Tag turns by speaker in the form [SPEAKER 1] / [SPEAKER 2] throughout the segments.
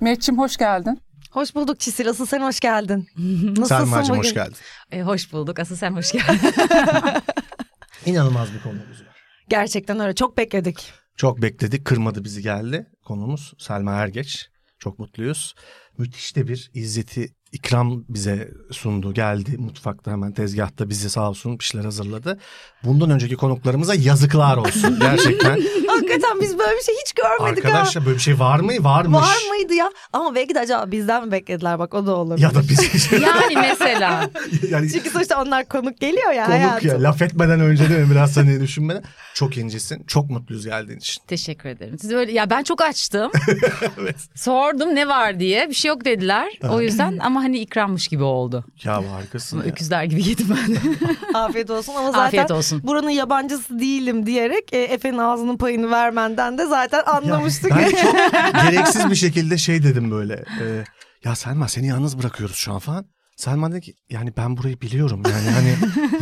[SPEAKER 1] Meriç'im hoş geldin.
[SPEAKER 2] Hoş bulduk Çisil. Asıl sen hoş geldin. Nasılsın
[SPEAKER 3] Selma'cığım
[SPEAKER 2] bugün?
[SPEAKER 3] hoş geldin.
[SPEAKER 4] E, hoş bulduk. Asıl sen hoş geldin.
[SPEAKER 3] İnanılmaz bir konumuz var.
[SPEAKER 2] Gerçekten öyle. Çok bekledik.
[SPEAKER 3] Çok bekledik, kırmadı bizi geldi. Konumuz Selma Ergeç. Çok mutluyuz. Müthiş de bir izzeti ikram bize sundu. Geldi mutfakta hemen tezgahta bizi sağ olsun bir şeyler hazırladı. Bundan önceki konuklarımıza yazıklar olsun gerçekten.
[SPEAKER 2] Hakikaten biz böyle bir şey hiç görmedik ha.
[SPEAKER 3] Arkadaşlar böyle bir şey var mı? Varmış.
[SPEAKER 2] Var mıydı ya? Ama belki de acaba bizden mi beklediler bak o da olabilir.
[SPEAKER 3] Ya da biz
[SPEAKER 4] yani mesela.
[SPEAKER 3] yani
[SPEAKER 2] Çünkü sonuçta onlar konuk geliyor ya
[SPEAKER 3] konuk
[SPEAKER 2] hayatım.
[SPEAKER 3] ya laf etmeden önce de biraz hani düşünmeden çok incesin. Çok mutluyuz geldiğin için.
[SPEAKER 4] Teşekkür ederim. Siz öyle ya ben çok açtım.
[SPEAKER 3] Evet.
[SPEAKER 4] Sordum ne var diye. Bir şey yok dediler. O yüzden ama hani ikrammış gibi oldu.
[SPEAKER 3] Ya harikasın ya.
[SPEAKER 4] Öküzler gibi yedim ben.
[SPEAKER 2] Afiyet olsun ama zaten
[SPEAKER 4] Afiyet olsun.
[SPEAKER 2] buranın yabancısı değilim diyerek e, Efe'nin ağzının payını vermenden de zaten
[SPEAKER 3] Ya
[SPEAKER 2] anlamıştık.
[SPEAKER 3] Ben çok gereksiz bir şekilde şey dedim böyle. e, ya Selma seni yalnız bırakıyoruz şu an falan. Selma dedi ki yani ben burayı biliyorum yani hani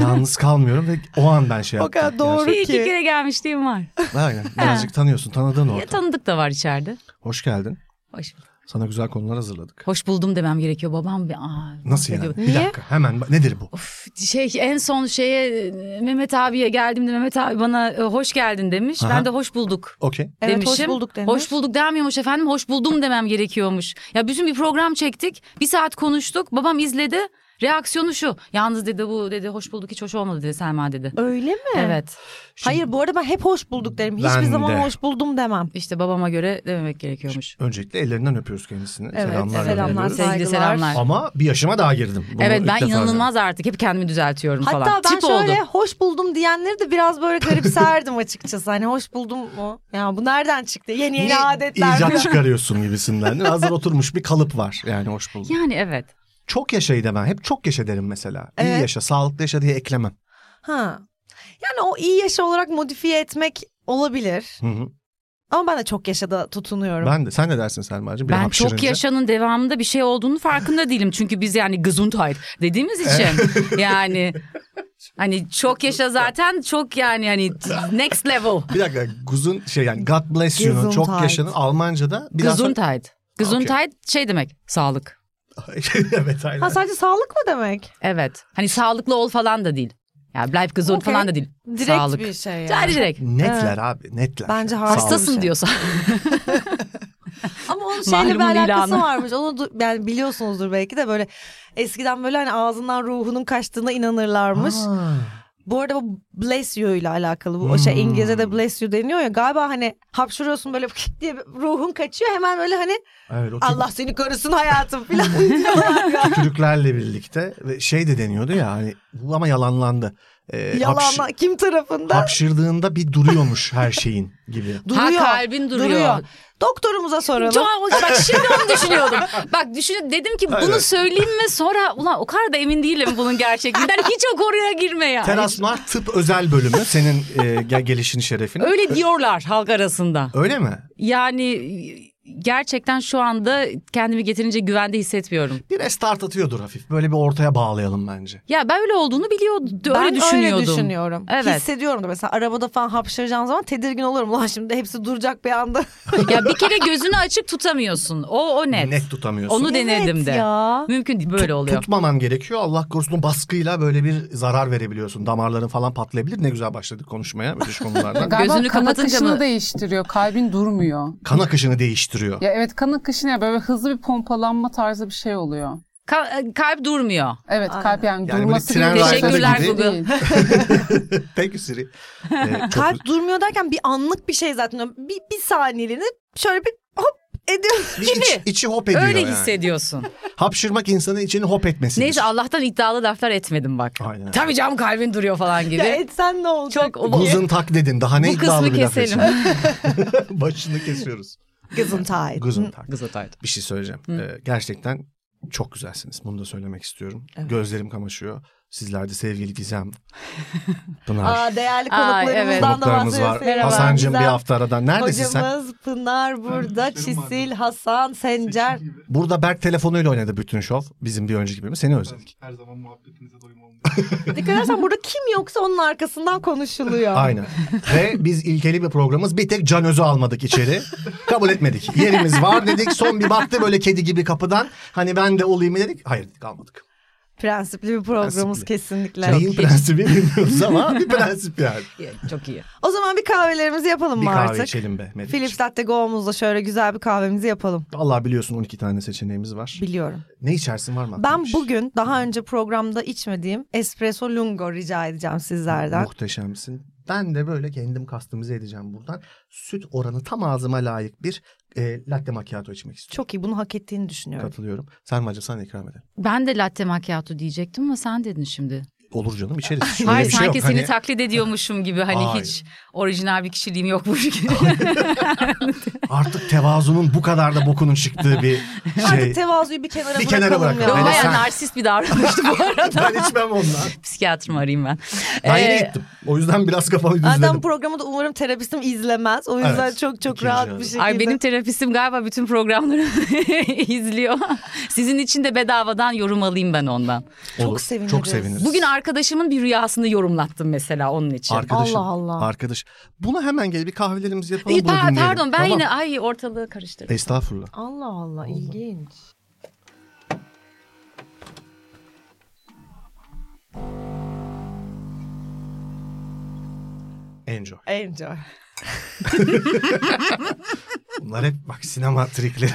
[SPEAKER 3] yalnız kalmıyorum ve o an ben şey
[SPEAKER 2] O
[SPEAKER 3] yaptım.
[SPEAKER 2] kadar doğru.
[SPEAKER 4] Bir iki
[SPEAKER 2] Peki.
[SPEAKER 4] kere gelmişliğim var.
[SPEAKER 3] Gerçekten. Aynen birazcık tanıyorsun tanıdığın
[SPEAKER 4] Ya,
[SPEAKER 3] ortam.
[SPEAKER 4] tanıdık da var içeride.
[SPEAKER 3] Hoş geldin.
[SPEAKER 4] Hoş,
[SPEAKER 3] Sana güzel konular hazırladık.
[SPEAKER 4] hoş buldum demem gerekiyor. Babam bir... Aa,
[SPEAKER 3] Nasıl
[SPEAKER 4] ediyor?
[SPEAKER 3] yani? Bir
[SPEAKER 2] Niye?
[SPEAKER 3] dakika hemen ba- nedir bu?
[SPEAKER 4] Of, şey en son şeye e, Mehmet abiye geldiğimde Mehmet abi bana e, hoş geldin demiş.
[SPEAKER 3] Aha.
[SPEAKER 4] Ben de hoş bulduk.
[SPEAKER 3] Okey.
[SPEAKER 2] evet hoş
[SPEAKER 4] demişim.
[SPEAKER 2] bulduk demiş.
[SPEAKER 4] Hoş bulduk demiyormuş efendim. Hoş buldum demem gerekiyormuş. Ya bütün bir program çektik. Bir saat konuştuk. Babam izledi. Reaksiyonu şu. Yalnız dedi bu dedi hoş bulduk hiç hoş olmadı dedi Selma dedi.
[SPEAKER 2] Öyle mi?
[SPEAKER 4] Evet.
[SPEAKER 3] Şimdi
[SPEAKER 2] Hayır bu arada ben hep hoş bulduk derim.
[SPEAKER 3] Ben
[SPEAKER 2] Hiçbir zaman
[SPEAKER 3] de.
[SPEAKER 2] hoş buldum demem.
[SPEAKER 4] İşte babama göre dememek gerekiyormuş.
[SPEAKER 3] öncelikle ellerinden öpüyoruz kendisini.
[SPEAKER 2] Evet,
[SPEAKER 3] selamlar.
[SPEAKER 2] selamlar,
[SPEAKER 3] gönderiyoruz.
[SPEAKER 2] saygılar.
[SPEAKER 4] Sevgili selamlar.
[SPEAKER 3] Ama bir yaşıma daha girdim. Bunu
[SPEAKER 4] evet
[SPEAKER 3] ilk
[SPEAKER 4] ben
[SPEAKER 3] defa
[SPEAKER 4] inanılmaz artık hep kendimi düzeltiyorum
[SPEAKER 2] Hatta
[SPEAKER 4] falan.
[SPEAKER 2] ben
[SPEAKER 4] Tip
[SPEAKER 2] şöyle
[SPEAKER 4] oldu.
[SPEAKER 2] hoş buldum diyenleri de biraz böyle garipserdim açıkçası. Hani hoş buldum mu? Ya bu nereden çıktı? Yeni yeni
[SPEAKER 3] Niye
[SPEAKER 2] adetler.
[SPEAKER 3] İcat çıkarıyorsun gibisinden. değil mi? Hazır oturmuş bir kalıp var. Yani hoş bulduk.
[SPEAKER 4] Yani evet.
[SPEAKER 3] Çok yaşayı da ben hep çok yaşa derim mesela. İyi
[SPEAKER 2] Evet.
[SPEAKER 3] yaşa, sağlıklı yaşa diye eklemem.
[SPEAKER 2] ha. Yani o iyi yaşa olarak modifiye etmek olabilir.
[SPEAKER 3] Hı hı.
[SPEAKER 2] Ama ben de çok yaşada tutunuyorum.
[SPEAKER 3] Ben de. Sen ne dersin Selma'cığım? Bir
[SPEAKER 4] Ben çok
[SPEAKER 3] hapşırınca.
[SPEAKER 4] yaşanın devamında bir şey olduğunu farkında değilim. Çünkü biz yani gesundheit dediğimiz için yani hani çok yaşa zaten çok yani hani next level.
[SPEAKER 3] Bir dakika. Guzun şey yani God bless you'nun çok
[SPEAKER 2] Gesundheit.
[SPEAKER 3] yaşanın Almanca'da. Biraz
[SPEAKER 4] Gesundheit. Gesundheit şey demek sağlık.
[SPEAKER 3] evet aynen.
[SPEAKER 2] Ha sadece sağlık mı demek?
[SPEAKER 4] Evet. Hani sağlıklı ol falan da değil. Yani bleib gesund
[SPEAKER 2] Okey.
[SPEAKER 4] falan da değil.
[SPEAKER 2] Direkt
[SPEAKER 4] sağlık.
[SPEAKER 2] bir şey yani.
[SPEAKER 4] Yani direkt.
[SPEAKER 3] Netler abi netler.
[SPEAKER 2] Bence
[SPEAKER 3] Sağ
[SPEAKER 2] harika.
[SPEAKER 3] olun.
[SPEAKER 4] Hastasın
[SPEAKER 2] şey.
[SPEAKER 4] diyorsa.
[SPEAKER 2] Ama onun şeyle bir
[SPEAKER 4] Mahlumun
[SPEAKER 2] alakası
[SPEAKER 4] ilanı.
[SPEAKER 2] varmış. Onu du- yani biliyorsunuzdur belki de böyle eskiden böyle hani ağzından ruhunun kaçtığına inanırlarmış.
[SPEAKER 3] Aa,
[SPEAKER 2] Bu arada bu bless you ile alakalı bu
[SPEAKER 3] Hmm.
[SPEAKER 2] o şey İngilizce'de bless you deniyor ya galiba hani hapşırıyorsun böyle diye ruhun kaçıyor hemen böyle hani
[SPEAKER 3] Evet, o tük-
[SPEAKER 2] Allah seni korusun hayatım falan diyorlar ya.
[SPEAKER 3] tükürüklerle birlikte ve şey de deniyordu ya hani bu ama yalanlandı. Ee, hapşır-
[SPEAKER 2] Yalanla kim tarafından?
[SPEAKER 3] hapşırdığında bir duruyormuş her şeyin gibi.
[SPEAKER 2] Duruyor.
[SPEAKER 4] Ha kalbin duruyor.
[SPEAKER 2] Doktorumuza soralım.
[SPEAKER 4] Çok- bak şimdi onu düşünüyordum. Bak düşün dedim ki
[SPEAKER 3] Aynen.
[SPEAKER 4] bunu söyleyeyim mi sonra ulan o kadar da emin değilim bunun gerçekliğinden. Hiç o konuya girme yani.
[SPEAKER 3] Terasmar Tıp Özel Bölümü senin e, gel- gelişin şerefine.
[SPEAKER 4] Öyle diyorlar halk arasında.
[SPEAKER 3] Öyle mi?
[SPEAKER 4] Yani gerçekten şu anda kendimi getirince güvende hissetmiyorum.
[SPEAKER 3] Bir restart atıyordur hafif. Böyle bir ortaya bağlayalım bence.
[SPEAKER 4] Ya ben öyle olduğunu biliyordum.
[SPEAKER 2] ben
[SPEAKER 4] öyle düşünüyordum.
[SPEAKER 2] düşünüyorum.
[SPEAKER 4] Evet.
[SPEAKER 2] Hissediyorum da mesela arabada falan hapşıracağım zaman tedirgin olurum. Ulan şimdi hepsi duracak bir anda.
[SPEAKER 4] ya bir kere gözünü açık tutamıyorsun. O o net.
[SPEAKER 3] Net tutamıyorsun.
[SPEAKER 4] Onu denedim
[SPEAKER 2] Evet
[SPEAKER 4] de.
[SPEAKER 2] ya.
[SPEAKER 4] Mümkün değil böyle
[SPEAKER 3] Tut-
[SPEAKER 4] oluyor.
[SPEAKER 3] Tutmaman gerekiyor. Allah korusun o baskıyla böyle bir zarar verebiliyorsun. Damarların falan patlayabilir. Ne güzel başladık konuşmaya müthiş konulardan.
[SPEAKER 1] Galiba
[SPEAKER 4] Gözünü
[SPEAKER 1] kan
[SPEAKER 4] kapatınca
[SPEAKER 1] akışını
[SPEAKER 4] mı?
[SPEAKER 1] değiştiriyor. Kalbin durmuyor.
[SPEAKER 3] kan akışını değiştiriyor.
[SPEAKER 1] Ya evet kan akışı ne? Böyle hızlı bir pompalanma tarzı bir şey oluyor.
[SPEAKER 4] Ka- e, kalp durmuyor.
[SPEAKER 1] Evet
[SPEAKER 2] Aynen.
[SPEAKER 1] kalp yani,
[SPEAKER 3] Yani
[SPEAKER 1] durması
[SPEAKER 3] böyle tren
[SPEAKER 1] gibi bir şey
[SPEAKER 4] Teşekkürler
[SPEAKER 1] değil.
[SPEAKER 4] Google.
[SPEAKER 3] Peki Siri. Ee, çok-
[SPEAKER 2] Kalp durmuyor derken bir anlık bir şey zaten. Bir, bir saniyeliğine şöyle bir hop ediyor.
[SPEAKER 3] bir iç- içi hop ediyor
[SPEAKER 4] Öyle
[SPEAKER 3] yani.
[SPEAKER 4] hissediyorsun.
[SPEAKER 3] Hapşırmak insanın içini hop etmesidir.
[SPEAKER 4] Neyse Allah'tan iddialı laflar etmedim bak.
[SPEAKER 3] Aynen.
[SPEAKER 4] Tabii canım kalbin duruyor falan
[SPEAKER 2] ya
[SPEAKER 4] gibi.
[SPEAKER 2] etsen ne olacak?
[SPEAKER 4] Çok o-
[SPEAKER 3] Guzun tak dedin. Daha ne
[SPEAKER 4] Bu
[SPEAKER 3] iddialı
[SPEAKER 4] kısmı
[SPEAKER 3] bir laf
[SPEAKER 4] keselim.
[SPEAKER 3] etsin. Başını kesiyoruz.
[SPEAKER 4] E,
[SPEAKER 2] Gesundheit.
[SPEAKER 3] Guzun tak.
[SPEAKER 4] Kız ataydı.
[SPEAKER 3] Bir şey söyleyeceğim. Ee, gerçekten çok güzelsiniz. Bunu da söylemek istiyorum.
[SPEAKER 2] Evet.
[SPEAKER 3] Gözlerim kamaşıyor. Sizler de sevgili Gizem, Pınar.
[SPEAKER 2] Aa, değerli
[SPEAKER 4] Ay, evet.
[SPEAKER 2] konuklarımızdan da
[SPEAKER 3] konuklarımız
[SPEAKER 2] bahsediyoruz.
[SPEAKER 3] var.
[SPEAKER 2] Merhaba.
[SPEAKER 3] Hasan'cığım bir
[SPEAKER 2] Güzel.
[SPEAKER 3] hafta aradan. Neredesin sen?
[SPEAKER 2] Hocamız Pınar burada,
[SPEAKER 5] müşterim vardı.
[SPEAKER 2] Çisil, Hasan, Sencer.
[SPEAKER 3] Burada Berk telefonuyla oynadı bütün şov. Bizim bir önceki bölümü. Seni özledim.
[SPEAKER 5] Her zaman muhabbetinize doyum olmuyor.
[SPEAKER 2] Dikkat edersen burada kim yoksa onun arkasından konuşuluyor.
[SPEAKER 3] Aynen. Ve biz ilkeli bir programız. Bir tek Can Öz'ü almadık içeri. Kabul etmedik. Yerimiz var dedik. Son bir baktı böyle kedi gibi kapıdan. Hani ben de olayım mı dedik. Hayır dedik almadık.
[SPEAKER 2] Prensipli bir programımız
[SPEAKER 3] Prensipli.
[SPEAKER 2] kesinlikle.
[SPEAKER 3] Neyin prensibi bilmiyoruz ama bir prensip yani.
[SPEAKER 4] Çok iyi.
[SPEAKER 2] O zaman bir kahvelerimizi yapalım
[SPEAKER 3] bir
[SPEAKER 2] mı
[SPEAKER 3] kahve
[SPEAKER 2] artık?
[SPEAKER 3] içelim be. Melih.
[SPEAKER 2] Philips Latte Go'muzla şöyle güzel bir kahvemizi yapalım.
[SPEAKER 3] Vallahi biliyorsun 12 tane seçeneğimiz var.
[SPEAKER 2] Biliyorum.
[SPEAKER 3] Ne içersin var mı? aklında
[SPEAKER 2] Ben
[SPEAKER 3] bir şey?
[SPEAKER 2] bugün daha önce programda içmediğim espresso lungo rica edeceğim sizlerden.
[SPEAKER 3] Muhteşemsin. Ben de böyle kendim kastımızı edeceğim buradan. Süt oranı tam ağzıma layık bir e, latte macchiato içmek istiyorum.
[SPEAKER 2] Çok iyi bunu hak ettiğini düşünüyorum.
[SPEAKER 3] Katılıyorum. Selma'cığım sana ikram edelim.
[SPEAKER 4] Ben de latte macchiato diyecektim ama sen dedin şimdi.
[SPEAKER 3] Olur canım içeriz. Şöyle
[SPEAKER 4] Hayır
[SPEAKER 3] bir şey
[SPEAKER 4] sanki
[SPEAKER 3] yok.
[SPEAKER 4] seni
[SPEAKER 3] Hani-
[SPEAKER 4] taklit ediyormuşum gibi hani
[SPEAKER 3] Hayır.
[SPEAKER 4] hiç orijinal bir kişiliğim yokmuş gibi.
[SPEAKER 3] Artık tevazunun bu kadar da bokunun çıktığı bir şey.
[SPEAKER 2] Artık tevazuyu bir kenara
[SPEAKER 3] Bir kenara
[SPEAKER 2] bırakalım ya.
[SPEAKER 3] bırakalım.
[SPEAKER 4] Yok
[SPEAKER 3] Hele
[SPEAKER 4] bayağı
[SPEAKER 3] hani sen-
[SPEAKER 4] narsist bir davranıştı bu arada.
[SPEAKER 3] ben içmem ondan.
[SPEAKER 4] Psikiyatrımı arayayım ben.
[SPEAKER 3] Ben
[SPEAKER 4] Ee,
[SPEAKER 3] yeni gittim. O yüzden biraz kafamı
[SPEAKER 2] Zaten
[SPEAKER 3] düzledim.
[SPEAKER 2] programı da umarım terapistim izlemez. O yüzden
[SPEAKER 3] Evet.
[SPEAKER 2] çok çok
[SPEAKER 3] İkinci
[SPEAKER 2] rahat
[SPEAKER 3] yani.
[SPEAKER 2] bir şekilde.
[SPEAKER 4] Ay benim terapistim galiba bütün programları izliyor. Sizin için de bedavadan yorum alayım ben ondan.
[SPEAKER 2] çok seviniriz.
[SPEAKER 3] Çok seviniriz.
[SPEAKER 4] Bugün arkadaşımın bir rüyasını yorumlattım mesela onun için.
[SPEAKER 3] Arkadaşım,
[SPEAKER 2] Allah Allah.
[SPEAKER 3] Arkadaş. Buna hemen gel bir kahvelerimizi yapalım.
[SPEAKER 4] İyi,
[SPEAKER 3] bunu
[SPEAKER 4] pa-
[SPEAKER 3] dinleyelim.
[SPEAKER 4] pardon ben
[SPEAKER 3] Tamam.
[SPEAKER 4] yine ay ortalığı karıştırdım.
[SPEAKER 3] Estağfurullah.
[SPEAKER 2] Allah Allah ilginç.
[SPEAKER 3] Enjoy.
[SPEAKER 2] Enjoy.
[SPEAKER 3] Bunlar hep bak sinema trikleri.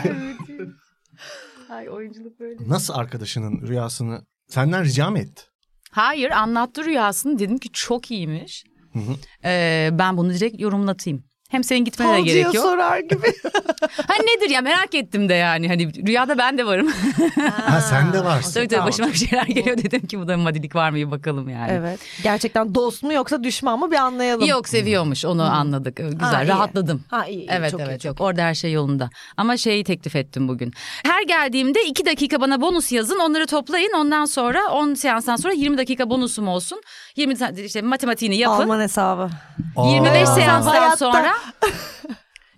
[SPEAKER 4] Ay oyunculuk böyle.
[SPEAKER 3] Nasıl arkadaşının rüyasını senden rica mı etti?
[SPEAKER 4] Hayır anlattı rüyasını dedim ki çok iyiymiş.
[SPEAKER 3] Hı hı.
[SPEAKER 4] Ee, ben bunu direkt yorumlatayım. Hem senin gitmene de
[SPEAKER 2] Falcıya
[SPEAKER 4] gerek yok.
[SPEAKER 2] sorar gibi.
[SPEAKER 4] Hani nedir ya merak ettim de yani hani rüyada ben de varım.
[SPEAKER 3] Ha, sen de varsın.
[SPEAKER 4] Tabii tabii
[SPEAKER 3] Tamam.
[SPEAKER 4] başıma bir şeyler geliyor dedim ki bu da madilik var mı bir bakalım yani.
[SPEAKER 2] Evet. Gerçekten dost mu yoksa düşman mı bir anlayalım.
[SPEAKER 4] Yok seviyormuş onu anladık. Ee, Güzel
[SPEAKER 2] Ha, iyi.
[SPEAKER 4] rahatladım.
[SPEAKER 2] Ha iyi. iyi,
[SPEAKER 4] Evet
[SPEAKER 2] çok iyi,
[SPEAKER 4] evet
[SPEAKER 2] çok
[SPEAKER 4] yok orada her şey yolunda. Ama şeyi teklif ettim bugün. Her geldiğimde 2 dakika bana bonus yazın onları toplayın ondan sonra 10 seanstan sonra 20 dakika bonusum olsun. 20 sa- işte matematiğini
[SPEAKER 2] iyi.
[SPEAKER 4] yapın.
[SPEAKER 2] Alman hesabı.
[SPEAKER 4] 25
[SPEAKER 3] Aa,
[SPEAKER 4] seanstan
[SPEAKER 2] Hayatta.
[SPEAKER 4] sonra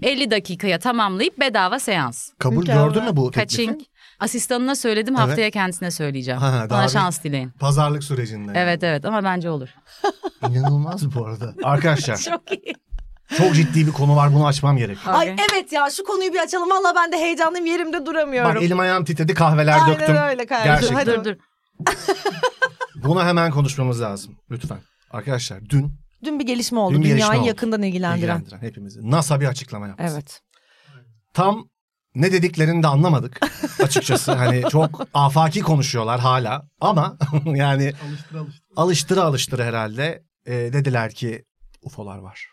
[SPEAKER 4] 50 dakikaya tamamlayıp bedava seans.
[SPEAKER 3] Kabul
[SPEAKER 2] Mükemmel.
[SPEAKER 3] gördün mü bu teklifi?
[SPEAKER 4] Kaçing. Asistanına söyledim
[SPEAKER 3] Evet.
[SPEAKER 4] haftaya kendisine söyleyeceğim.
[SPEAKER 3] Ha, daha
[SPEAKER 4] Bana
[SPEAKER 3] bir-
[SPEAKER 4] şans dileyin.
[SPEAKER 3] Pazarlık sürecinde.
[SPEAKER 4] Evet evet ama bence olur.
[SPEAKER 3] İnanılmaz bu arada. Arkadaşlar
[SPEAKER 4] Çok iyi.
[SPEAKER 3] çok ciddi bir konu var bunu açmam gerek.
[SPEAKER 2] Ay evet ya şu konuyu bir açalım. Valla ben de heyecanlıyım yerimde duramıyorum.
[SPEAKER 3] Bak elim ayağım titredi kahveler
[SPEAKER 2] Aynen
[SPEAKER 3] döktüm.
[SPEAKER 2] öyle kardeşim.
[SPEAKER 3] Gerçekten.
[SPEAKER 2] Hadi.
[SPEAKER 4] Dur dur.
[SPEAKER 3] Bunu hemen konuşmamız lazım lütfen. Arkadaşlar dün
[SPEAKER 2] Dün bir gelişme oldu.
[SPEAKER 3] Dün bir
[SPEAKER 2] Dünyayı
[SPEAKER 3] gelişme oldu.
[SPEAKER 2] yakından ilgilendiren.
[SPEAKER 3] ilgilendiren hepimizi NASA bir açıklama yaptı.
[SPEAKER 2] Evet.
[SPEAKER 3] Tam ne dediklerini de anlamadık açıkçası. hani çok afaki konuşuyorlar hala ama yani
[SPEAKER 5] Alıştır alıştır.
[SPEAKER 3] alıştıra alıştıra herhalde e, dediler ki UFO'lar var.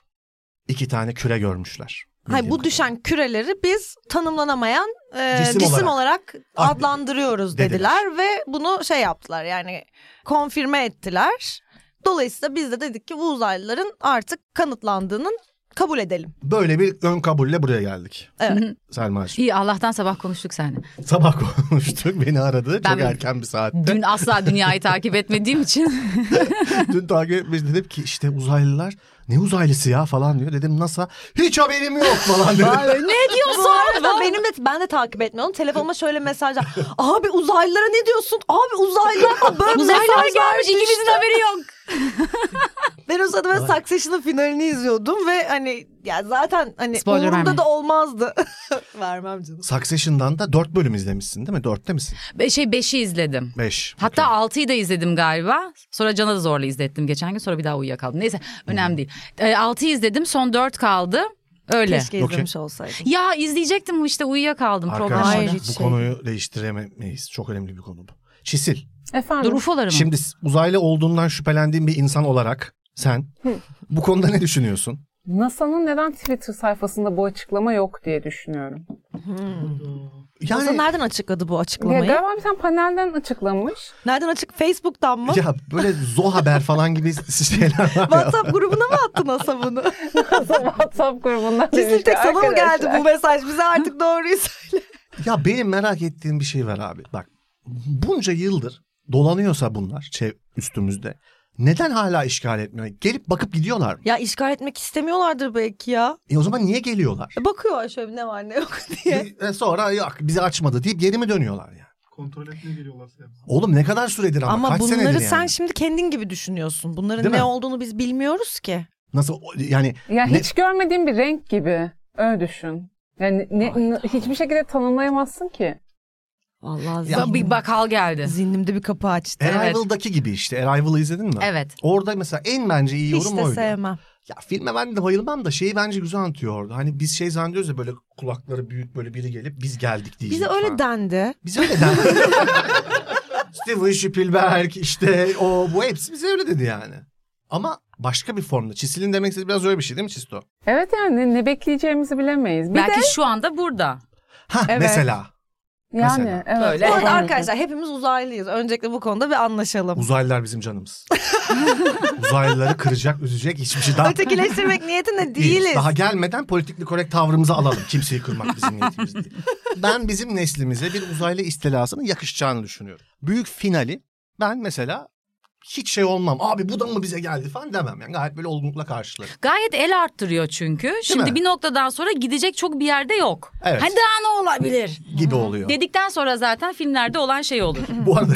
[SPEAKER 3] İki tane küre görmüşler.
[SPEAKER 2] Hayır, bu
[SPEAKER 3] Bildiğim
[SPEAKER 2] düşen küreleri biz tanımlanamayan e, cisim,
[SPEAKER 3] Cisim
[SPEAKER 2] olarak,
[SPEAKER 3] ad-
[SPEAKER 2] adlandırıyoruz dediler.
[SPEAKER 3] dediler.
[SPEAKER 2] ve bunu şey yaptılar yani konfirme ettiler. Dolayısıyla biz de dedik ki bu uzaylıların artık kanıtlandığının kabul edelim.
[SPEAKER 3] kadar. Böyle bir ön kabulle buraya geldik.
[SPEAKER 2] Evet.
[SPEAKER 3] Selma'cığım.
[SPEAKER 4] İyi Allah'tan sabah konuştuk seninle.
[SPEAKER 3] Sabah konuştuk beni aradı.
[SPEAKER 4] Ben-
[SPEAKER 3] Çok erken bir saat.
[SPEAKER 4] Dün asla dünyayı takip etmediğim için.
[SPEAKER 3] Dün takip etmiş dedim ki işte uzaylılar ne uzaylısı ya falan diyor. Dedim NASA hiç haberim yok falan dedi.
[SPEAKER 4] ne
[SPEAKER 2] Bu arada benim de ben de takip etmiyorum. Telefonuma şöyle mesajlar. Abi uzaylılara ne diyorsun? Abi uzaylılar mı? Böyle
[SPEAKER 4] Uzaylılar
[SPEAKER 2] mesajlar
[SPEAKER 4] gelmiş
[SPEAKER 2] düştü.
[SPEAKER 4] ikimizin haberi yok.
[SPEAKER 2] Ben o sırada böyle Succession'ın finalini izliyordum ve hani ya zaten hani
[SPEAKER 4] Spoiler
[SPEAKER 2] umurumda
[SPEAKER 4] verme.
[SPEAKER 2] da olmazdı. Vermem canım.
[SPEAKER 3] Succession'dan da 4 bölüm izlemişsin değil mi? 4'te misin?
[SPEAKER 4] Be- şey 5'i izledim.
[SPEAKER 3] 5.
[SPEAKER 4] Hatta 6'yı da izledim galiba. Sonra Can'a da zorla izlettim geçen gün. Sonra bir daha uyuyakaldım. Neyse önemli değil. 6'yı izledim son 4 kaldı. Öyle.
[SPEAKER 2] Keşke
[SPEAKER 3] Okey.
[SPEAKER 2] izlemiş olsaydım.
[SPEAKER 4] Ya izleyecektim işte uyuyakaldım. Problem
[SPEAKER 3] Arkadaşlar
[SPEAKER 2] Hayır,
[SPEAKER 4] oldu.
[SPEAKER 2] hiç
[SPEAKER 3] bu
[SPEAKER 2] şey
[SPEAKER 3] konuyu değiştiremeyiz. Çok önemli bir konu bu. Çisil.
[SPEAKER 1] Efendim?
[SPEAKER 4] Dur ufoları mı?
[SPEAKER 3] Şimdi uzaylı olduğundan şüphelendiğin bir insan olarak sen bu konuda ne düşünüyorsun?
[SPEAKER 1] NASA'nın neden Twitter sayfasında bu açıklama yok diye düşünüyorum.
[SPEAKER 3] Yani
[SPEAKER 2] Hasan nereden açıkladı bu
[SPEAKER 1] Ya,
[SPEAKER 2] açıklamayı?
[SPEAKER 1] galiba bir tane panelden açıklamış.
[SPEAKER 2] Nereden açık? Facebook'tan mı?
[SPEAKER 3] ya böyle zo haber falan gibi şeyler var ya.
[SPEAKER 2] WhatsApp grubuna mı attın Hasan bunu?
[SPEAKER 1] WhatsApp grubundan
[SPEAKER 2] Cisil
[SPEAKER 1] demiş
[SPEAKER 2] tek
[SPEAKER 1] ki,
[SPEAKER 2] sana mı geldi
[SPEAKER 1] "Arkadaşlar,
[SPEAKER 2] bu mesaj? Bize artık doğruyu söyle.
[SPEAKER 3] Ya benim merak ettiğim bir şey var abi. Bak bunca yıldır dolanıyorsa bunlar çev- üstümüzde neden hala işgal etmiyor? Gelip bakıp gidiyorlar mı?
[SPEAKER 2] Ya işgal etmek istemiyorlardır belki ya.
[SPEAKER 3] E o zaman niye geliyorlar?
[SPEAKER 2] E, Bakıyor şöyle ne var ne yok diye.
[SPEAKER 3] E sonra yok bizi açmadı deyip geri mi dönüyorlar yani?
[SPEAKER 5] Kontrol etmeye geliyorlarsa yani.
[SPEAKER 3] Oğlum ne kadar süredir ama,
[SPEAKER 2] Ama,
[SPEAKER 3] kaç
[SPEAKER 2] bunları
[SPEAKER 3] senedir yani?
[SPEAKER 2] sen şimdi kendin gibi düşünüyorsun. Bunların
[SPEAKER 3] Değil
[SPEAKER 2] ne
[SPEAKER 3] mi?
[SPEAKER 2] olduğunu biz bilmiyoruz ki.
[SPEAKER 3] Nasıl o- yani
[SPEAKER 1] Ya
[SPEAKER 3] Ne-
[SPEAKER 1] hiç görmediğim bir renk gibi. Öyle düşün. Yani ne, n- hiçbir şekilde tanımlayamazsın ki.
[SPEAKER 2] Vallahi
[SPEAKER 3] Ya-
[SPEAKER 2] ya,
[SPEAKER 4] Bir bakal geldi.
[SPEAKER 2] zihnimde bir kapı açtı.
[SPEAKER 4] Evet.
[SPEAKER 3] Arrival'daki gibi işte. Arrival'ı izledin mi?
[SPEAKER 4] Evet.
[SPEAKER 3] Orada mesela en bence iyi yorum
[SPEAKER 2] Hiç de
[SPEAKER 3] oydu.
[SPEAKER 2] sevmem.
[SPEAKER 3] Ya filme ben de bayılmam da şeyi bence güzel anlatıyor orada. Hani biz şey zannediyoruz ya böyle kulakları büyük böyle biri gelip biz geldik diyecek.
[SPEAKER 2] Bize öyle
[SPEAKER 3] falan.
[SPEAKER 2] dendi.
[SPEAKER 3] Bize öyle dendi. Steven Spielberg işte o bu hepsi bize öyle dedi yani. Ama başka bir formda. Çisil'in demek istediği biraz öyle bir şey değil mi Çisto?
[SPEAKER 1] Evet yani ne bekleyeceğimizi bilemeyiz. Bir de
[SPEAKER 4] Belki şu anda burada.
[SPEAKER 3] Ha
[SPEAKER 1] Evet.
[SPEAKER 3] mesela
[SPEAKER 1] yani
[SPEAKER 3] mesela.
[SPEAKER 1] evet.
[SPEAKER 4] Böyle.
[SPEAKER 2] Bu
[SPEAKER 4] Bu
[SPEAKER 2] arada arkadaşlar hepimiz uzaylıyız. Öncelikle bu konuda bir anlaşalım.
[SPEAKER 3] uzaylılar bizim canımız. Uzaylıları kıracak, üzecek hiçbir şey daha
[SPEAKER 2] Ötekileştirmek niyetinde
[SPEAKER 3] Değiliz.
[SPEAKER 2] değiliz.
[SPEAKER 3] Daha gelmeden politikli korrekt tavrımızı alalım. Kimseyi kırmak bizim niyetimiz değil. Ben bizim neslimize bir uzaylı istilasının yakışacağını düşünüyorum. Büyük finali ben mesela hiç şey olmam. Abi bu da mı bize geldi falan demem. Yani gayet böyle olgunlukla karşılarım.
[SPEAKER 4] Gayet el arttırıyor çünkü. Şimdi
[SPEAKER 3] mi?
[SPEAKER 4] bir noktadan sonra gidecek çok bir yerde yok.
[SPEAKER 3] Evet.
[SPEAKER 4] Hani daha ne olabilir?
[SPEAKER 3] Gibi oluyor.
[SPEAKER 4] Dedikten sonra zaten filmlerde olan şey olur.
[SPEAKER 3] Bu arada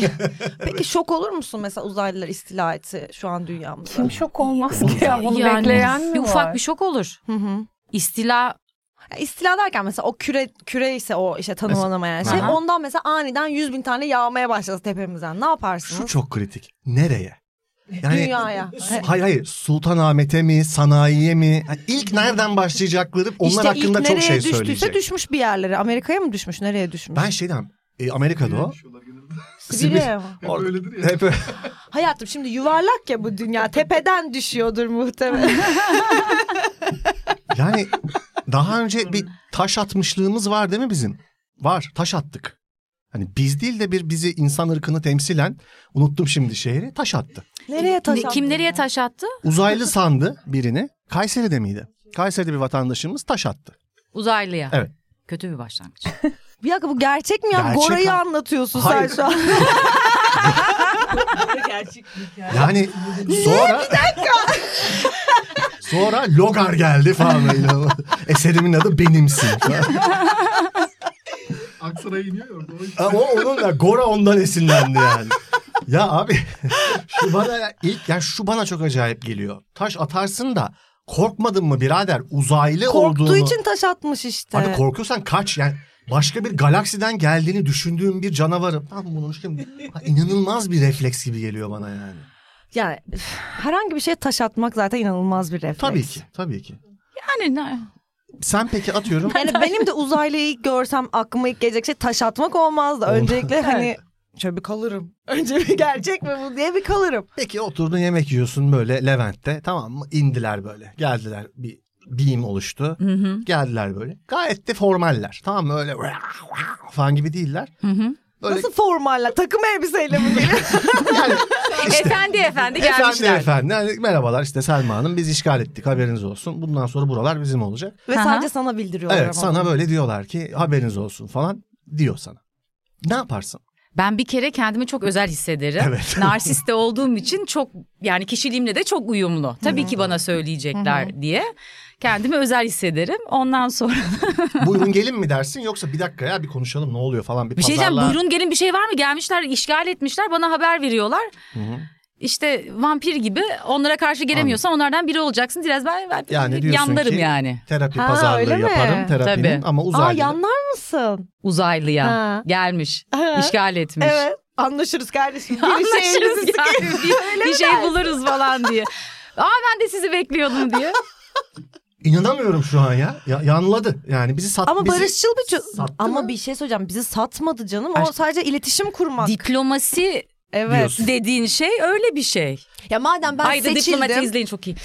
[SPEAKER 2] Peki şok olur musun mesela uzaylılar istila etse şu an dünyamızda?
[SPEAKER 1] Kim şok olmaz ki ya bunu
[SPEAKER 4] Yani
[SPEAKER 1] bekleyen mi
[SPEAKER 4] bir
[SPEAKER 1] var?
[SPEAKER 4] ufak bir şey şok olur.
[SPEAKER 2] Hı hı.
[SPEAKER 4] İstila
[SPEAKER 2] Ya istila derken mesela o küre küre ise o işte tanımlanamayan şey
[SPEAKER 4] Aha.
[SPEAKER 2] ondan mesela aniden yüz bin tane yağmaya başlasa tepemizden ne
[SPEAKER 3] şu
[SPEAKER 2] yaparsınız?
[SPEAKER 3] çok kritik. Nereye?
[SPEAKER 2] Dünyaya. Hani
[SPEAKER 3] Su- Hayır hayır. Sultanahmet'e mi, sanayiye mi? Yani ilk nereden başlayacakları onlar
[SPEAKER 2] işte
[SPEAKER 3] hakkında
[SPEAKER 2] ilk
[SPEAKER 3] çok şey
[SPEAKER 2] nereye düştüyse
[SPEAKER 3] söyleyecek.
[SPEAKER 2] düşmüş bir yerlere. Amerika'ya mı düşmüş? Nereye düşmüş?
[SPEAKER 3] Ben şeyden e, Amerika'da o.
[SPEAKER 5] Düşüyorlar genelde.
[SPEAKER 2] Sibirya'ya mı?
[SPEAKER 5] Hep
[SPEAKER 3] Orada-
[SPEAKER 5] öyledir ya.
[SPEAKER 3] Hep öyle.
[SPEAKER 2] Hayatım şimdi yuvarlak ya bu dünya. Tepeden düşüyordur muhtemelen.
[SPEAKER 3] Yani daha önce bir taş atmışlığımız var değil mi bizim? Var taş attık. Hani biz değil de bir bizi insan ırkını temsilen unuttum şimdi şehri taş attı.
[SPEAKER 2] nereye taş
[SPEAKER 4] Ne- kim
[SPEAKER 2] attın
[SPEAKER 4] nereye
[SPEAKER 2] ya?
[SPEAKER 4] taş attı?
[SPEAKER 3] Uzaylı sandı birini. Kayseri'de miydi? Kayseri'de bir vatandaşımız taş attı.
[SPEAKER 4] Uzaylıya.
[SPEAKER 3] Evet.
[SPEAKER 4] Kötü bir başlangıç.
[SPEAKER 2] Bir dakika bu gerçek mi ya?
[SPEAKER 3] Gerçek
[SPEAKER 2] Gora'yı
[SPEAKER 3] ha-
[SPEAKER 2] anlatıyorsun
[SPEAKER 3] Hayır.
[SPEAKER 2] sen şu an.
[SPEAKER 3] Yani sonra... sonra Logar geldi falan. böyle. Eserimin adı Benimsin.
[SPEAKER 5] Aksaray'a iniyor ya orada. O işte.
[SPEAKER 3] Ha, o onun da Gora ondan esinlendi yani. ya abi şu bana ya- ilk ya şu bana çok acayip geliyor. Taş atarsın da korkmadın mı birader uzaylı
[SPEAKER 2] Korktuğu
[SPEAKER 3] olduğunu.
[SPEAKER 2] için taş atmış işte.
[SPEAKER 3] Abi korkuyorsan kaç yani başka bir galaksiden geldiğini düşündüğüm bir canavarım. Tam bunu şimdi Ha, inanılmaz bir refleks gibi geliyor bana yani.
[SPEAKER 2] yani üf, herhangi bir şeye taş atmak zaten inanılmaz bir refleks.
[SPEAKER 3] Tabii ki tabii ki.
[SPEAKER 2] Hani
[SPEAKER 4] Yani ne-
[SPEAKER 3] Sen peki atıyorum
[SPEAKER 2] Yani benim de uzaylıyı ilk görsem aklıma ilk gelecek şey taş atmak olmazdı. Öncelikle hani şöyle bir kalırım. Önce bir gerçek mi bu diye bir kalırım.
[SPEAKER 3] Peki oturdun yemek yiyorsun böyle Levent'te tamam mı? İndiler böyle. Geldiler bir biğim oluştu. Geldiler böyle. Gayet de formaller. Tamam mı? Öyle falan gibi değiller. Böyle
[SPEAKER 2] Nasıl formaller? Takım elbiseyle mi geliyor?
[SPEAKER 3] yani
[SPEAKER 4] Efendi efendi gelmişler.
[SPEAKER 3] efendi efendi. Yani merhabalar işte Selma Hanım biz işgal ettik haberiniz olsun. Bundan sonra buralar bizim olacak.
[SPEAKER 2] Ve
[SPEAKER 4] Aha.
[SPEAKER 2] sadece sana bildiriyorlar
[SPEAKER 3] evet
[SPEAKER 2] ama.
[SPEAKER 3] sana böyle diyorlar ki haberiniz olsun falan diyor sana. Ne yaparsın?
[SPEAKER 4] Ben bir kere kendimi çok özel hissederim.
[SPEAKER 3] Evet.
[SPEAKER 4] Narsiste olduğum için çok yani kişiliğimle de çok uyumlu. Tabii ki bana söyleyecekler diye kendimi özel hissederim. Ondan sonra
[SPEAKER 3] Buyurun gelin mi dersin yoksa bir dakika ya bir konuşalım ne oluyor falan bir,
[SPEAKER 4] bir şey diyeceğim.
[SPEAKER 3] pazarlığa-
[SPEAKER 4] Buyurun gelin bir şey var mı? Gelmişler, işgal etmişler, bana haber veriyorlar.
[SPEAKER 3] Hı hı.
[SPEAKER 4] İşte vampir gibi onlara karşı gelemiyorsan onlardan biri olacaksın. Biraz ben, ben
[SPEAKER 3] Yani diyorsun
[SPEAKER 4] yanlarım
[SPEAKER 3] ki-
[SPEAKER 4] yani.
[SPEAKER 3] Terapi
[SPEAKER 2] Ha, öyle
[SPEAKER 3] pazarlığı
[SPEAKER 2] mi?
[SPEAKER 3] yaparım terapinin
[SPEAKER 4] Tabii.
[SPEAKER 3] ama
[SPEAKER 2] Aa
[SPEAKER 3] uzaylı.
[SPEAKER 2] yanlar mısın?
[SPEAKER 4] Uzaylıya
[SPEAKER 2] Ha.
[SPEAKER 4] gelmiş,
[SPEAKER 2] Ha.
[SPEAKER 4] işgal etmiş.
[SPEAKER 2] Evet. Anlaşırız kardeşim. Bir şey
[SPEAKER 4] Anlaşırız
[SPEAKER 2] elinizi
[SPEAKER 4] yani. Bir, bir şey buluruz falan diye. Aa ben de sizi bekliyordum diye.
[SPEAKER 3] İnanamıyorum şu an ya. ya yanladı. Yani bizi sattı.
[SPEAKER 2] Ama
[SPEAKER 3] bizi...
[SPEAKER 2] barışçıl bir ço-
[SPEAKER 3] sattı
[SPEAKER 2] Ama
[SPEAKER 3] mı?
[SPEAKER 2] bir şey söyleyeceğim. Bizi satmadı canım.
[SPEAKER 3] Ay-
[SPEAKER 2] O sadece iletişim kurmak.
[SPEAKER 4] Diplomasi
[SPEAKER 2] evet.
[SPEAKER 3] diyorsun.
[SPEAKER 4] dediğin şey öyle bir şey.
[SPEAKER 2] Ya madem ben
[SPEAKER 4] Ay da diplomatı
[SPEAKER 2] seçildim.
[SPEAKER 4] izleyin çok iyi.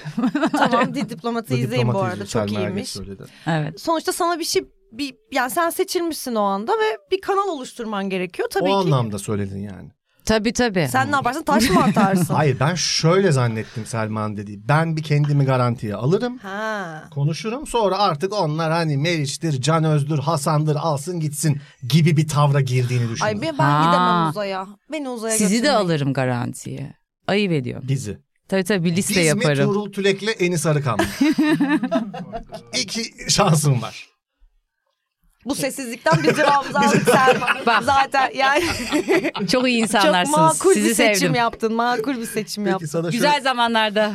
[SPEAKER 2] tamam di diplomatı izleyin bu arada. Çok
[SPEAKER 3] Selma Ergeç
[SPEAKER 2] iyiymiş.
[SPEAKER 3] söyledi.
[SPEAKER 4] Evet.
[SPEAKER 2] Sonuçta sana bir şey bir yani sen seçilmişsin o anda ve bir kanal oluşturman gerekiyor tabii
[SPEAKER 3] o
[SPEAKER 2] ki.
[SPEAKER 3] anlamda söyledin yani.
[SPEAKER 6] Tabii tabii.
[SPEAKER 2] Sen ne yaparsın? Taş mı atarsın?
[SPEAKER 3] Hayır ben şöyle zannettim Selman dediği. Ben bir kendimi garantiye alırım.
[SPEAKER 2] ha.
[SPEAKER 3] Konuşurum sonra artık onlar hani Meriç'tir, Can Öz'dür, Hasan'dır alsın gitsin gibi bir tavra girdiğini düşündüm.
[SPEAKER 2] Ay ben, ben
[SPEAKER 4] Ha.
[SPEAKER 2] gidemem uzaya. Beni uzaya
[SPEAKER 6] Sizi de
[SPEAKER 2] götürmeyin.
[SPEAKER 6] alırım garantiye. Ayıp ediyorum.
[SPEAKER 3] Bizi.
[SPEAKER 2] şey
[SPEAKER 6] Tabii tabii bir liste
[SPEAKER 3] Biz mi
[SPEAKER 6] yaparım.
[SPEAKER 3] Tuğrul Tülek'le Enis Arıkan mı? İki şansım var.
[SPEAKER 2] Bu sessizlikten bizi Ramzanlık Selma.
[SPEAKER 6] Bak.
[SPEAKER 2] Zaten yani
[SPEAKER 6] Çok iyi
[SPEAKER 2] çok
[SPEAKER 6] insanlarsınız.
[SPEAKER 2] makul
[SPEAKER 6] Sizi
[SPEAKER 2] bir seçim
[SPEAKER 6] sevdim.
[SPEAKER 2] yaptın. Makul bir seçim
[SPEAKER 3] Peki
[SPEAKER 2] yaptın.
[SPEAKER 3] sana,
[SPEAKER 6] Güzel
[SPEAKER 3] şöyle,
[SPEAKER 6] zamanlarda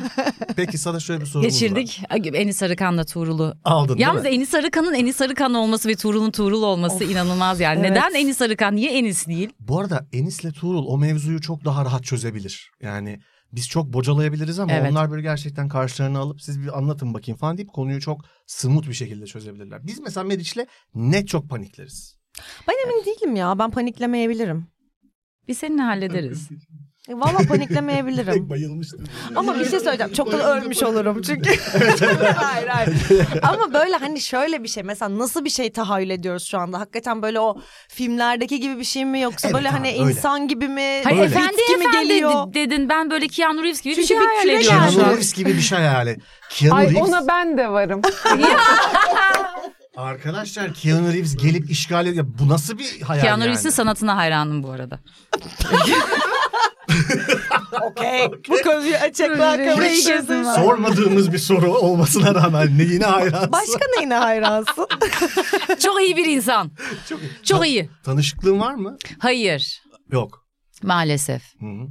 [SPEAKER 3] peki sana şöyle bir sorumuz var.
[SPEAKER 6] geçirdik. Enis Arıkan'la Tuğrul'u.
[SPEAKER 3] Aldın değil mi?
[SPEAKER 4] Yalnız Enis Arıkan'ın Enis Arıkan olması ve Tuğrul'un Tuğrul olması inanılmaz yani.
[SPEAKER 6] Evet.
[SPEAKER 4] Neden Enis Arıkan? Niye Enis değil?
[SPEAKER 3] Bu arada Enis'le Tuğrul o mevzuyu çok daha rahat çözebilir. Yani biz çok bocalayabiliriz ama
[SPEAKER 6] Evet.
[SPEAKER 3] onlar böyle gerçekten karşılarına alıp siz bir anlatın bakayım falan deyip konuyu çok smooth bir şekilde çözebilirler. Biz mesela Meriç'le net çok panikleriz.
[SPEAKER 2] Ben emin değilim ya. Ben paniklemeyebilirim.
[SPEAKER 4] Biz seninle hallederiz.
[SPEAKER 2] E, Valla paniklemeyebilirim.
[SPEAKER 3] bayılmıştım.
[SPEAKER 2] Ama bir şey söyleyeceğim. Çoktan ölmüş olurum çünkü. hayır hayır. Ama böyle hani şöyle bir şey. Mesela nasıl bir şey tahayyül ediyoruz şu anda? Hakikaten böyle o filmlerdeki gibi bir şey mi? Yoksa
[SPEAKER 3] Evet
[SPEAKER 2] böyle hani
[SPEAKER 3] abi, öyle.
[SPEAKER 2] insan gibi mi?
[SPEAKER 4] Hayır
[SPEAKER 3] Öyle.
[SPEAKER 4] efendi
[SPEAKER 2] Bitki mi
[SPEAKER 4] efendi
[SPEAKER 2] geliyor?
[SPEAKER 4] de- dedin. Ben böyle Keanu Reeves gibi
[SPEAKER 2] Çünkü
[SPEAKER 4] bir şey
[SPEAKER 2] bir
[SPEAKER 4] hayal
[SPEAKER 2] küre
[SPEAKER 4] ediyorum.
[SPEAKER 3] Keanu
[SPEAKER 4] şu an.
[SPEAKER 3] Reeves gibi bir şey hayali. Keanu
[SPEAKER 1] Ay
[SPEAKER 3] Reeves,
[SPEAKER 1] ona ben de varım.
[SPEAKER 3] arkadaşlar Keanu Reeves gelip işgal ediyor. Bu nasıl bir hayal
[SPEAKER 4] Keanu
[SPEAKER 3] yani?
[SPEAKER 4] Reeves'in sanatına hayranım bu arada.
[SPEAKER 2] Okey. Bu konuyu açıklığa
[SPEAKER 4] şey
[SPEAKER 1] Burayı
[SPEAKER 2] kavuşuyoruz.
[SPEAKER 1] gezdim ben.
[SPEAKER 3] Sormadığımız bir soru olmasına rağmen neyine hayransın?
[SPEAKER 2] Başka neyine hayransın?
[SPEAKER 4] Çok iyi bir insan.
[SPEAKER 3] Çok,
[SPEAKER 4] Çok iyi.
[SPEAKER 3] Tanışıklığın var mı?
[SPEAKER 4] Hayır.
[SPEAKER 3] Yok.
[SPEAKER 4] Maalesef.
[SPEAKER 3] Hı -hı.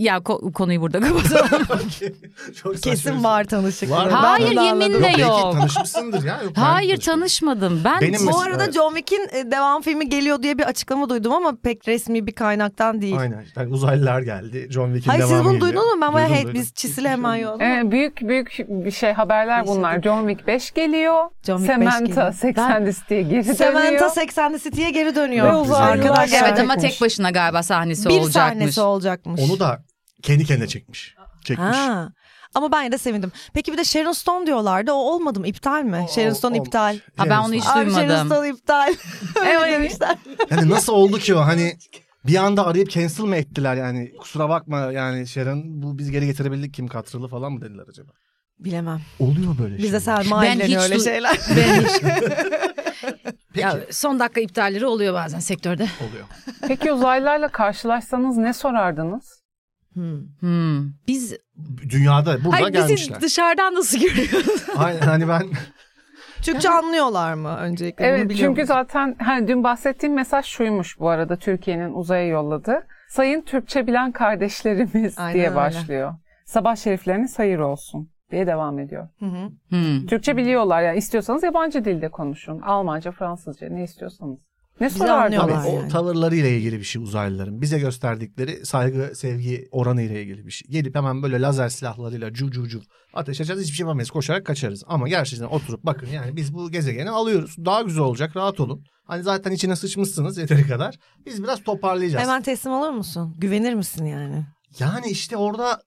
[SPEAKER 4] Ya ko- konuyu burada kapatalım.
[SPEAKER 3] Çok saçma bir
[SPEAKER 2] Kesin
[SPEAKER 3] soru.
[SPEAKER 2] var tanışıklığı.
[SPEAKER 3] Var.
[SPEAKER 2] Ben
[SPEAKER 4] Hayır,
[SPEAKER 2] bunu anladım.
[SPEAKER 4] yeminle
[SPEAKER 3] belki
[SPEAKER 4] yok.
[SPEAKER 3] tanışmışsındır ya. Yok, ben
[SPEAKER 4] Hayır
[SPEAKER 3] tanışmadım.
[SPEAKER 4] tanışmadım. Ben
[SPEAKER 3] Benim
[SPEAKER 2] Bu
[SPEAKER 3] Mesela-
[SPEAKER 2] arada John Wick'in e, devam filmi geliyor diye bir açıklama duydum ama pek resmi bir kaynaktan değil.
[SPEAKER 3] Aynen. Ben uzaylılar geldi. John Wick'in
[SPEAKER 2] Hayır
[SPEAKER 3] devamı
[SPEAKER 2] siz bunu
[SPEAKER 3] geliyor.
[SPEAKER 2] duydunuz mu? Ben bayağı
[SPEAKER 3] Duydum,
[SPEAKER 2] hey,
[SPEAKER 3] duydum.
[SPEAKER 2] biz çisili hemen yolladık.
[SPEAKER 1] Ee, büyük büyük bir şey haberler bunlar. John Wick 5 geliyor.
[SPEAKER 2] John Wick 5
[SPEAKER 1] Samantha
[SPEAKER 2] geliyor.
[SPEAKER 1] 80 listeye geri dönüyor.
[SPEAKER 2] Samantha 80'li City'ye geri
[SPEAKER 1] Ve
[SPEAKER 2] dönüyor.
[SPEAKER 3] uzaylılar
[SPEAKER 2] Arkadaşlar
[SPEAKER 4] Evet ama
[SPEAKER 1] Gerçekmiş.
[SPEAKER 4] tek başına galiba sahnesi
[SPEAKER 2] bir
[SPEAKER 4] olacakmış.
[SPEAKER 2] sahnesi olacakmış.
[SPEAKER 3] Onu da kendi kendine çekmiş. Çekmiş.
[SPEAKER 2] Ha. Ama ben de sevindim. Peki bir de Sharon Stone diyorlardı. O olmadı mı? İptal mi? Sharon Stone
[SPEAKER 3] Olmuş.
[SPEAKER 2] iptal.
[SPEAKER 4] Ha, ben onu hiç
[SPEAKER 2] Abi Sharon
[SPEAKER 4] duymadım.
[SPEAKER 2] Stone iptal. Öyle demişler.
[SPEAKER 3] Yani nasıl oldu ki o hani bir anda arayıp cancel mı ettiler yani kusura bakma yani Sharon bu biz geri getirebildik Kim Katrıl'ı falan mı dediler acaba?
[SPEAKER 2] Bilemem.
[SPEAKER 3] Oluyor böyle
[SPEAKER 2] Bize Selma
[SPEAKER 4] Ben hiç
[SPEAKER 2] ilgileniyor öyle
[SPEAKER 4] duy-
[SPEAKER 2] şeyler.
[SPEAKER 4] Ben hiç-
[SPEAKER 3] Peki
[SPEAKER 4] Ya son dakika iptalleri oluyor bazen sektörde.
[SPEAKER 3] oluyor.
[SPEAKER 1] Peki uzaylılarla karşılaşsanız ne sorardınız?
[SPEAKER 2] Hmm.
[SPEAKER 4] Hmm. Biz
[SPEAKER 3] Dünyada burada
[SPEAKER 4] Hayır, bizi
[SPEAKER 3] gelmişler.
[SPEAKER 4] dışarıdan nasıl görüyoruz?
[SPEAKER 3] Aynen hani ben
[SPEAKER 2] Türkçe anlıyorlar mı öncelikle? Bunu
[SPEAKER 1] Evet
[SPEAKER 2] biliyor
[SPEAKER 1] çünkü
[SPEAKER 2] musun?
[SPEAKER 1] zaten hani dün bahsettiğim mesaj şuymuş bu arada Türkiye'nin uzaya yolladı. Sayın Türkçe bilen kardeşlerimiz
[SPEAKER 2] Aynen
[SPEAKER 1] diye
[SPEAKER 2] öyle.
[SPEAKER 1] başlıyor. Sabah şerifleriniz hayır olsun diye devam ediyor.
[SPEAKER 2] Hı hı.
[SPEAKER 4] Hmm.
[SPEAKER 1] Türkçe biliyorlar yani istiyorsanız yabancı dilde konuşun. Almanca, Fransızca ne istiyorsanız. Ne
[SPEAKER 2] Bizi
[SPEAKER 1] sorardınız?
[SPEAKER 2] anlıyorlar.
[SPEAKER 3] Tabii, o
[SPEAKER 2] yani.
[SPEAKER 3] tavırlarıyla ilgili bir şey uzaylıların. Bize gösterdikleri saygı, sevgi oranıyla ilgili bir şey. Gelip hemen böyle lazer silahlarıyla cu cu cu ateş açacağız hiçbir şey yapamayız. Koşarak kaçarız. Ama gerçekten oturup bakın yani biz bu gezegeni alıyoruz. Daha güzel olacak rahat olun. Hani zaten içine sıçmışsınız yeteri kadar. Biz biraz toparlayacağız.
[SPEAKER 2] Hemen teslim olur musun? Güvenir misin yani?
[SPEAKER 3] Yani işte orada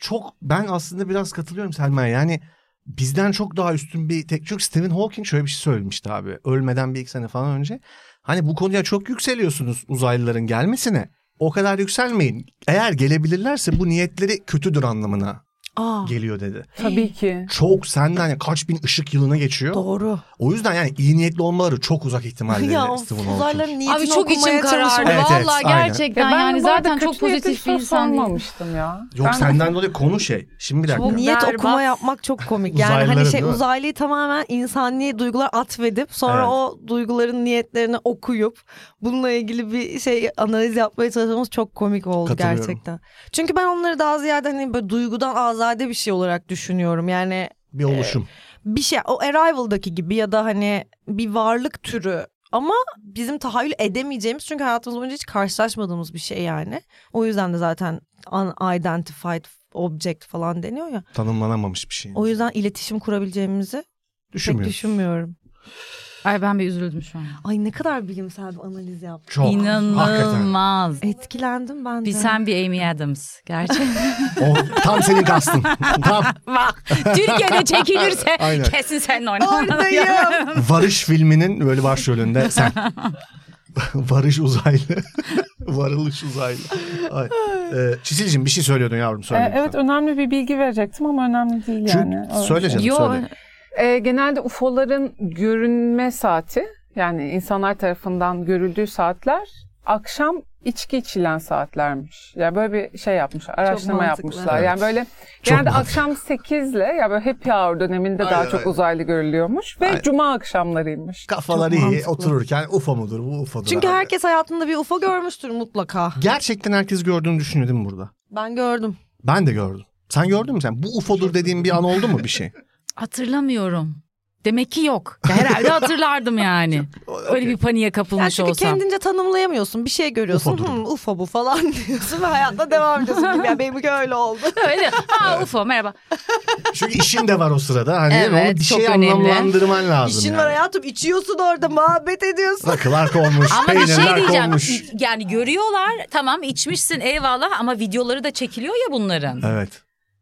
[SPEAKER 3] çok ben aslında biraz katılıyorum Selma'ya. Yani bizden çok daha üstün bir tek çünkü Stephen Hawking şöyle bir şey söylemişti abi. Ölmeden bir iki sene falan önce. Hani bu konuya çok yükseliyorsunuz uzaylıların gelmesine. O kadar yükselmeyin. Eğer gelebilirlerse bu niyetleri kötüdür anlamına
[SPEAKER 2] Aa
[SPEAKER 3] geliyor dedi.
[SPEAKER 1] Tabii ki.
[SPEAKER 3] Çok senden yani kaç bin ışık yılına geçiyor.
[SPEAKER 2] doğru.
[SPEAKER 3] O yüzden yani iyi niyetli olmaları çok uzak ihtimalle
[SPEAKER 2] ya
[SPEAKER 3] Stephen
[SPEAKER 2] of,
[SPEAKER 3] Hawking.
[SPEAKER 2] uzaylıların niyetini
[SPEAKER 4] Abi çok içim
[SPEAKER 2] okumaya
[SPEAKER 4] karardı.
[SPEAKER 2] çalışmak.
[SPEAKER 3] Evet, evet,
[SPEAKER 4] Vallahi
[SPEAKER 3] aynen.
[SPEAKER 1] Ya
[SPEAKER 4] gerçekten
[SPEAKER 1] ben
[SPEAKER 4] yani
[SPEAKER 1] bu arada
[SPEAKER 4] zaten
[SPEAKER 1] kötü
[SPEAKER 4] çok pozitif
[SPEAKER 1] niyetli
[SPEAKER 4] bir
[SPEAKER 1] soru
[SPEAKER 4] insan değil.
[SPEAKER 1] sormamıştım ya.
[SPEAKER 3] Yok
[SPEAKER 1] Ben- e,
[SPEAKER 3] senden dolayı konu şey. Şimdi bir dakika.
[SPEAKER 2] Niyet
[SPEAKER 4] Berbat.
[SPEAKER 2] okuma yapmak çok komik. Yani
[SPEAKER 3] Uzaylıların,
[SPEAKER 2] hani şey
[SPEAKER 3] değil mi?
[SPEAKER 2] uzaylıyı tamamen insani duygular atfedip sonra
[SPEAKER 3] Evet.
[SPEAKER 2] o duyguların niyetlerini okuyup bununla ilgili bir şey analiz yapmaya çalışmamız çok komik oldu
[SPEAKER 3] Katılıyorum.
[SPEAKER 2] gerçekten. Çünkü ben onları daha ziyade hani böyle duygudan azade bir şey olarak düşünüyorum. Yani
[SPEAKER 3] Bir oluşum.
[SPEAKER 2] bir şey o Arrival'daki gibi ya da hani bir varlık türü ama bizim tahayyül edemeyeceğimiz çünkü hayatımız boyunca hiç karşılaşmadığımız bir şey yani. O yüzden de zaten unidentified object falan deniyor ya.
[SPEAKER 3] Tanımlanamamış bir şey.
[SPEAKER 2] O yüzden iletişim kurabileceğimizi pek
[SPEAKER 3] Düşünmüyorum.
[SPEAKER 2] düşünmüyorum.
[SPEAKER 4] Ay ben bir üzüldüm şu an.
[SPEAKER 2] Ay ne kadar bilimsel bir analiz yaptım.
[SPEAKER 3] Çok. Hakikaten.
[SPEAKER 4] İnanılmaz.
[SPEAKER 2] Etkilendim ben de.
[SPEAKER 4] Bir sen bir Amy Adams. Gerçekten.
[SPEAKER 3] O, tam senin kastın. tam
[SPEAKER 4] Bak Türkiye'de çekilirse
[SPEAKER 3] Aynen.
[SPEAKER 4] kesin sen
[SPEAKER 2] Oradayım.
[SPEAKER 4] oynarsın.
[SPEAKER 3] Varış filminin böyle başrolünde sen. Varış uzaylı. Varılış uzaylı. Ay. Ee, Çisil'cim bir şey söylüyordun yavrum söyle.
[SPEAKER 1] Ee, evet
[SPEAKER 3] lütfen.
[SPEAKER 1] önemli bir bilgi verecektim ama önemli değil
[SPEAKER 3] Çünkü-
[SPEAKER 1] yani. Öyle
[SPEAKER 3] söyle canım
[SPEAKER 4] Yo,
[SPEAKER 3] söyle.
[SPEAKER 1] Ee, genelde UFO'ların görünme saati yani insanlar tarafından görüldüğü saatler akşam içki içilen saatlermiş. Ya yani böyle bir şey yapmışlar, araştırma
[SPEAKER 2] mantıklı.
[SPEAKER 1] yapmışlar.
[SPEAKER 3] Evet.
[SPEAKER 1] Yani böyle genelde
[SPEAKER 3] mantıklı.
[SPEAKER 1] akşam 8 ile ya böyle happy hour döneminde daha
[SPEAKER 3] Aynen,
[SPEAKER 1] çok
[SPEAKER 3] aynen.
[SPEAKER 1] uzaylı görülüyormuş ve
[SPEAKER 3] Aynen.
[SPEAKER 1] cuma akşamlarıymış.
[SPEAKER 3] Kafaları
[SPEAKER 2] Çok
[SPEAKER 3] iyi
[SPEAKER 2] mantıklı.
[SPEAKER 3] otururken UFO mudur bu UFO'dur.
[SPEAKER 2] Çünkü
[SPEAKER 3] abi.
[SPEAKER 2] herkes hayatında bir UFO görmüştür mutlaka.
[SPEAKER 3] Gerçekten herkes gördüğünü düşünüyor değil mi burada?
[SPEAKER 2] Ben gördüm.
[SPEAKER 3] Ben de gördüm. Sen gördün mü sen? Bu UFO'dur dediğin bir an oldu mu bir şey?
[SPEAKER 4] Hatırlamıyorum. Demek ki yok. Ya Herhalde hatırlardım yani. Öyle bir paniğe
[SPEAKER 2] Yani
[SPEAKER 4] kapılmış
[SPEAKER 2] çünkü
[SPEAKER 4] olsam.
[SPEAKER 2] kendince tanımlayamıyorsun. Bir şey görüyorsun.
[SPEAKER 3] UFO'dur.
[SPEAKER 2] "Hmm, UFO bu falan diyorsun ve hayatta devam ediyorsun. gibi. Yani benimki öyle oldu.
[SPEAKER 4] Öyle. Ha UFO merhaba.
[SPEAKER 3] Çünkü işin de var o sırada. Hani
[SPEAKER 4] Evet,
[SPEAKER 3] onu bir
[SPEAKER 4] çok
[SPEAKER 3] şey
[SPEAKER 4] önemli.
[SPEAKER 3] anlamlandırman lazım.
[SPEAKER 2] İşin
[SPEAKER 3] yani.
[SPEAKER 2] var hayatım. içiyorsun orada muhabbet ediyorsun.
[SPEAKER 3] Rakılar konmuş,
[SPEAKER 4] Ama bir şey
[SPEAKER 3] peynirler
[SPEAKER 4] diyeceğim.
[SPEAKER 3] konmuş.
[SPEAKER 4] Yani görüyorlar tamam içmişsin eyvallah ama videoları da çekiliyor ya bunların.
[SPEAKER 3] Evet.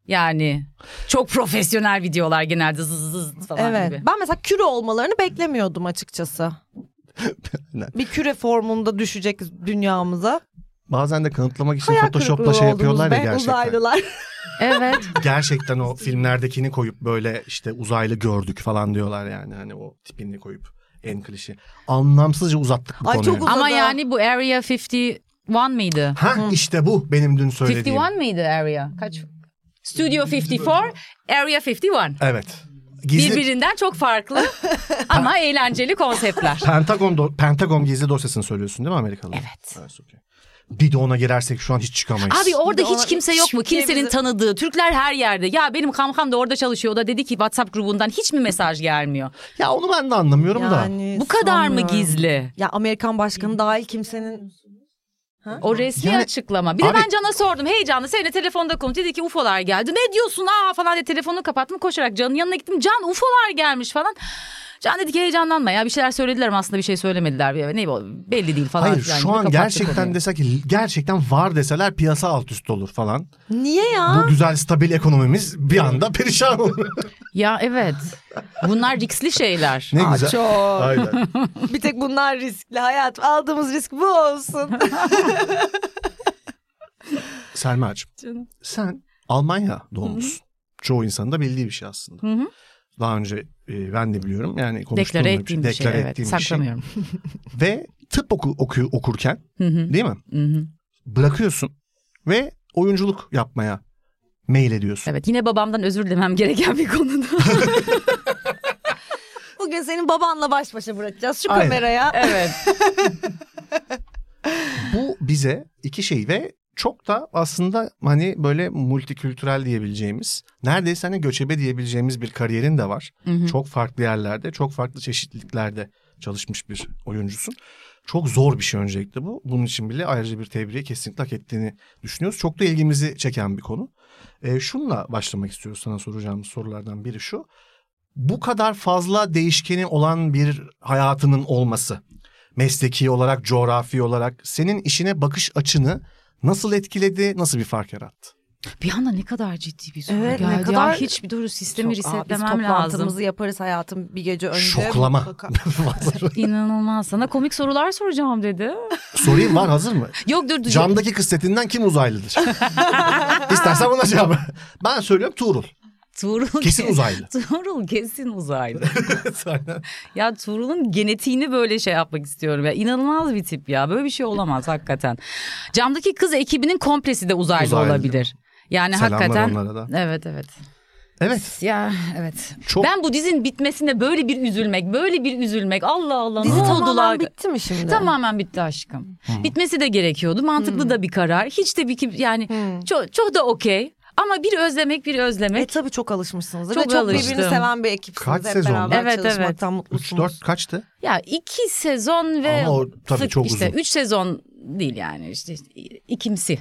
[SPEAKER 4] Yani çok profesyonel videolar genelde zız zız falan
[SPEAKER 2] Evet.
[SPEAKER 4] gibi.
[SPEAKER 2] Ben mesela küre olmalarını beklemiyordum açıkçası.
[SPEAKER 3] Ne?
[SPEAKER 2] bir küre formunda düşecek dünyamıza.
[SPEAKER 3] Bazen de kanıtlamak için
[SPEAKER 2] Hayal
[SPEAKER 3] Photoshop'la
[SPEAKER 2] kırıklığı
[SPEAKER 3] şey
[SPEAKER 2] oldunuz
[SPEAKER 3] yapıyorlar ya
[SPEAKER 2] be,
[SPEAKER 3] gerçekten.
[SPEAKER 2] Uzaylılar.
[SPEAKER 4] Evet.
[SPEAKER 3] Gerçekten o filmlerdekini koyup böyle işte uzaylı gördük falan diyorlar yani. Hani o tipini koyup en klişe. Anlamsızca uzattık bu
[SPEAKER 2] Ay,
[SPEAKER 3] konuyu.
[SPEAKER 2] çok uz-
[SPEAKER 4] ama
[SPEAKER 2] Uzada.
[SPEAKER 4] yani bu Area 51 mıydı?
[SPEAKER 3] ha işte bu benim dün söylediğim.
[SPEAKER 4] 51 miydi Area? Kaç? Studio 54, Area 51.
[SPEAKER 3] Evet. Gizli
[SPEAKER 4] Birbirinden çok farklı ama eğlenceli konseptler.
[SPEAKER 3] Pentagon do- Pentagon gizli dosyasını söylüyorsun değil mi Amerikalı?
[SPEAKER 4] Evet.
[SPEAKER 3] okey. Bir de ona girersek şu an hiç çıkamayız.
[SPEAKER 4] Abi orada
[SPEAKER 2] Bir de
[SPEAKER 4] hiç
[SPEAKER 2] ona-
[SPEAKER 4] kimse yok mu?
[SPEAKER 2] Hiç diye
[SPEAKER 4] Kimsenin
[SPEAKER 2] bizi-
[SPEAKER 4] tanıdığı. Türkler her yerde. Ya benim kamkam da orada çalışıyor. O da dedi ki WhatsApp grubundan hiç mi mesaj gelmiyor?
[SPEAKER 3] Ya onu ben de anlamıyorum da.
[SPEAKER 2] Yani
[SPEAKER 4] Bu kadar mı
[SPEAKER 2] sanmıyorum.
[SPEAKER 4] gizli?
[SPEAKER 2] Ya Amerikan başkanı dahil kimsenin
[SPEAKER 4] O resmi
[SPEAKER 3] Yani-
[SPEAKER 4] açıklama. Bir de
[SPEAKER 3] Abi-
[SPEAKER 4] ben Can'a sordum heyecanlı. Seninle telefonda konuş. Dedi ki UFO'lar geldi. Ne diyorsun aa falan diye telefonu kapattım. Koşarak Can'ın yanına gittim. Can UFO'lar gelmiş falan. Can dedi ki heyecanlanma ya bir şeyler söylediler ama aslında bir şey söylemediler. Ya Ne bu, belli değil falan.
[SPEAKER 3] Hayır
[SPEAKER 4] filan
[SPEAKER 3] şu
[SPEAKER 4] gibi
[SPEAKER 3] an
[SPEAKER 4] kapattı
[SPEAKER 3] gerçekten
[SPEAKER 4] konuyu.
[SPEAKER 3] desek ki gerçekten var deseler piyasa alt üst olur falan.
[SPEAKER 2] Niye ya?
[SPEAKER 3] Bu güzel stabil ekonomimiz bir anda perişan olur.
[SPEAKER 4] Ya evet. Bunlar riskli şeyler.
[SPEAKER 3] ne
[SPEAKER 2] Aa,
[SPEAKER 3] güzel.
[SPEAKER 2] çok.
[SPEAKER 3] Aynen.
[SPEAKER 2] Bir tek bunlar riskli hayat. Aldığımız risk bu olsun.
[SPEAKER 3] Selma'cığım sen Almanya doğumlusun. Çoğu insanın da bildiği bir şey aslında.
[SPEAKER 4] Hı hı.
[SPEAKER 3] Daha önce e, ben de biliyorum yani konuştuğum
[SPEAKER 4] Deklare
[SPEAKER 3] da
[SPEAKER 4] ettiğim bir şey.
[SPEAKER 3] deklare
[SPEAKER 4] Evet,
[SPEAKER 3] ettiğim bir şey.
[SPEAKER 4] saklamıyorum.
[SPEAKER 3] Ve tıp oku, oku- okurken
[SPEAKER 4] Hı hı,
[SPEAKER 3] değil mi?
[SPEAKER 4] hı hı.
[SPEAKER 3] Bırakıyorsun ve oyunculuk yapmaya mail ediyorsun.
[SPEAKER 4] evet yine babamdan özür dilemem gereken bir konuda.
[SPEAKER 2] Bugün senin babanla baş başa bırakacağız şu
[SPEAKER 3] Aynen.
[SPEAKER 2] kameraya.
[SPEAKER 4] evet.
[SPEAKER 3] Bu bize iki şey ve çok da aslında hani böyle multikültürel diyebileceğimiz, neredeyse hani göçebe diyebileceğimiz bir kariyerin de var.
[SPEAKER 4] Hı hı.
[SPEAKER 3] Çok farklı yerlerde, çok farklı çeşitliliklerde çalışmış bir oyuncusun. Çok zor bir şey öncelikle bu. Bunun için bile ayrıca bir tebriği kesinlikle hak ettiğini düşünüyoruz. Çok da ilgimizi çeken bir konu. Ee, şunla başlamak istiyoruz sana soracağımız sorulardan biri şu. Bu kadar fazla değişkeni olan bir hayatının olması mesleki olarak, coğrafi olarak senin işine bakış açını nasıl etkiledi, nasıl bir fark yarattı?
[SPEAKER 4] Bir anda ne kadar ciddi bir soru
[SPEAKER 2] Evet, ne
[SPEAKER 4] geldi.
[SPEAKER 2] kadar-
[SPEAKER 4] Ya hiç bir doğru sistemi
[SPEAKER 2] Çok- Aa, biz
[SPEAKER 4] resetlemem lazım.
[SPEAKER 2] toplantımızı yaparız hayatım bir gece önce.
[SPEAKER 4] E,
[SPEAKER 3] Şoklama.
[SPEAKER 2] Mutlaka.
[SPEAKER 4] İnanılmaz. Sana komik sorular soracağım dedi.
[SPEAKER 3] Sorayım var hazır mı?
[SPEAKER 4] Yok dur dur.
[SPEAKER 3] Camdaki kız setinden kim uzaylıdır? İstersen buna cevap. ver. Ben söylüyorum Tuğrul.
[SPEAKER 4] Tuğrul
[SPEAKER 3] Kesin uzaylı.
[SPEAKER 4] Tuğrul kesin uzaylı. ya Tuğrul'un genetiğini böyle şey yapmak istiyorum ya. İnanılmaz bir tip ya. Böyle bir şey olamaz hakikaten. Camdaki kız ekibinin komplesi de uzaylı,
[SPEAKER 3] Uzaylı.
[SPEAKER 4] olabilir. Yani
[SPEAKER 3] Selamlar
[SPEAKER 4] hakikaten.
[SPEAKER 3] onlara da.
[SPEAKER 4] Evet evet.
[SPEAKER 3] Evet.
[SPEAKER 4] Ya evet.
[SPEAKER 3] Çok
[SPEAKER 4] Ben bu dizinin bitmesine böyle bir üzülmek, böyle bir üzülmek. Allah Allah.
[SPEAKER 2] Dizi
[SPEAKER 4] ne oldu
[SPEAKER 2] tamamen
[SPEAKER 4] lan?
[SPEAKER 2] bitti mi şimdi?
[SPEAKER 4] Tamamen bitti aşkım.
[SPEAKER 3] Hmm.
[SPEAKER 4] Bitmesi de gerekiyordu. Mantıklı
[SPEAKER 2] Hmm.
[SPEAKER 4] da bir karar. Hiç de bir kim- yani çok, çok da okey. Ama bir özlemek bir özlemek.
[SPEAKER 2] E tabii çok alışmışsınız.
[SPEAKER 4] Çok
[SPEAKER 2] Ve çok birbirini
[SPEAKER 4] alıştım.
[SPEAKER 2] seven bir ekipsiniz.
[SPEAKER 3] Kaç
[SPEAKER 2] Hep
[SPEAKER 3] sezon?
[SPEAKER 2] beraber
[SPEAKER 4] Evet,
[SPEAKER 2] çalışmaktan mutlusunuz.
[SPEAKER 3] 3-4 kaçtı?
[SPEAKER 4] Ya iki sezon ve
[SPEAKER 3] Ama o tabii
[SPEAKER 4] fık
[SPEAKER 3] çok
[SPEAKER 4] işte
[SPEAKER 3] uzun.
[SPEAKER 4] üç sezon değil yani işte ikimsi.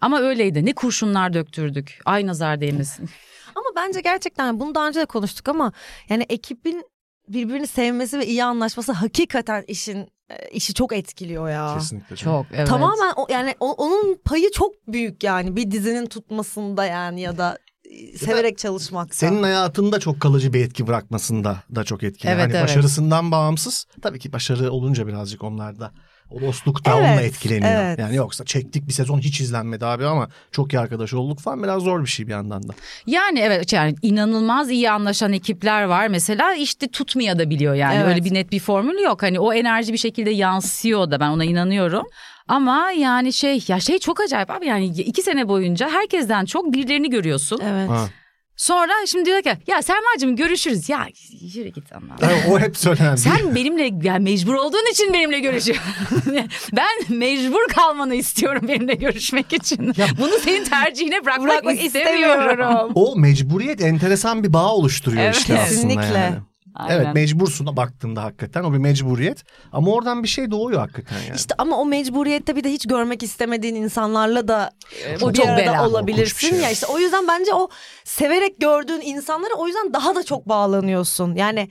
[SPEAKER 4] Ama öyleydi. Ne kurşunlar döktürdük. Ay nazar değmesin.
[SPEAKER 2] Ama bence gerçekten bunu daha önce de konuştuk ama yani ekibin birbirini sevmesi ve iyi anlaşması hakikaten işin e, işi çok etkiliyor ya.
[SPEAKER 3] Kesinlikle.
[SPEAKER 4] Çok evet.
[SPEAKER 2] Tamamen o, yani o- onun payı çok büyük yani bir dizinin tutmasında yani ya da e, severek çalışmakta.
[SPEAKER 3] Senin hayatında çok kalıcı bir etki bırakmasında da çok etkili.
[SPEAKER 4] Evet,
[SPEAKER 3] hani
[SPEAKER 4] evet.
[SPEAKER 3] başarısından bağımsız. Tabii ki başarı olunca birazcık onlar da O dostlukta
[SPEAKER 2] Evet,
[SPEAKER 3] onunla etkileniyor.
[SPEAKER 2] evet.
[SPEAKER 3] Yani yoksa çektik bir sezon hiç izlenmedi abi ama çok iyi arkadaş olduk falan biraz zor bir şey bir yandan da.
[SPEAKER 4] Yani evet şey yani inanılmaz iyi anlaşan ekipler var mesela işte tutmaya da biliyor yani
[SPEAKER 2] Evet.
[SPEAKER 4] öyle bir net bir formül yok hani o enerji bir şekilde yansıyor da ben ona inanıyorum. Ama yani şey ya şey çok acayip abi yani iki sene boyunca herkesten çok birilerini görüyorsun.
[SPEAKER 2] Evet.
[SPEAKER 3] Ha.
[SPEAKER 4] Sonra şimdi diyor ki ya Sermacığım görüşürüz ya yürü git ama.
[SPEAKER 3] Yani o hep söylenen.
[SPEAKER 4] Sen benimle yani mecbur olduğun için benimle görüşüyorsun. ben mecbur kalmanı istiyorum benimle görüşmek için. Bunu senin tercihine bırakmak,
[SPEAKER 2] Bırakmak
[SPEAKER 4] istemiyorum.
[SPEAKER 2] istemiyorum.
[SPEAKER 3] O mecburiyet enteresan bir bağ oluşturuyor
[SPEAKER 4] Evet.
[SPEAKER 3] işte aslında
[SPEAKER 2] Kesinlikle.
[SPEAKER 3] yani.
[SPEAKER 4] Aynen.
[SPEAKER 3] Evet mecbursun baktığında hakikaten o bir mecburiyet. Ama oradan bir şey doğuyor hakikaten yani.
[SPEAKER 2] İşte ama o mecburiyette bir de hiç görmek istemediğin insanlarla da e,
[SPEAKER 4] O
[SPEAKER 2] bir
[SPEAKER 4] çok
[SPEAKER 2] arada
[SPEAKER 4] bela.
[SPEAKER 2] olabilirsin
[SPEAKER 3] Korkunç bir şey.
[SPEAKER 2] ya işte o yüzden bence o severek gördüğün insanlara o yüzden daha da çok bağlanıyorsun. Yani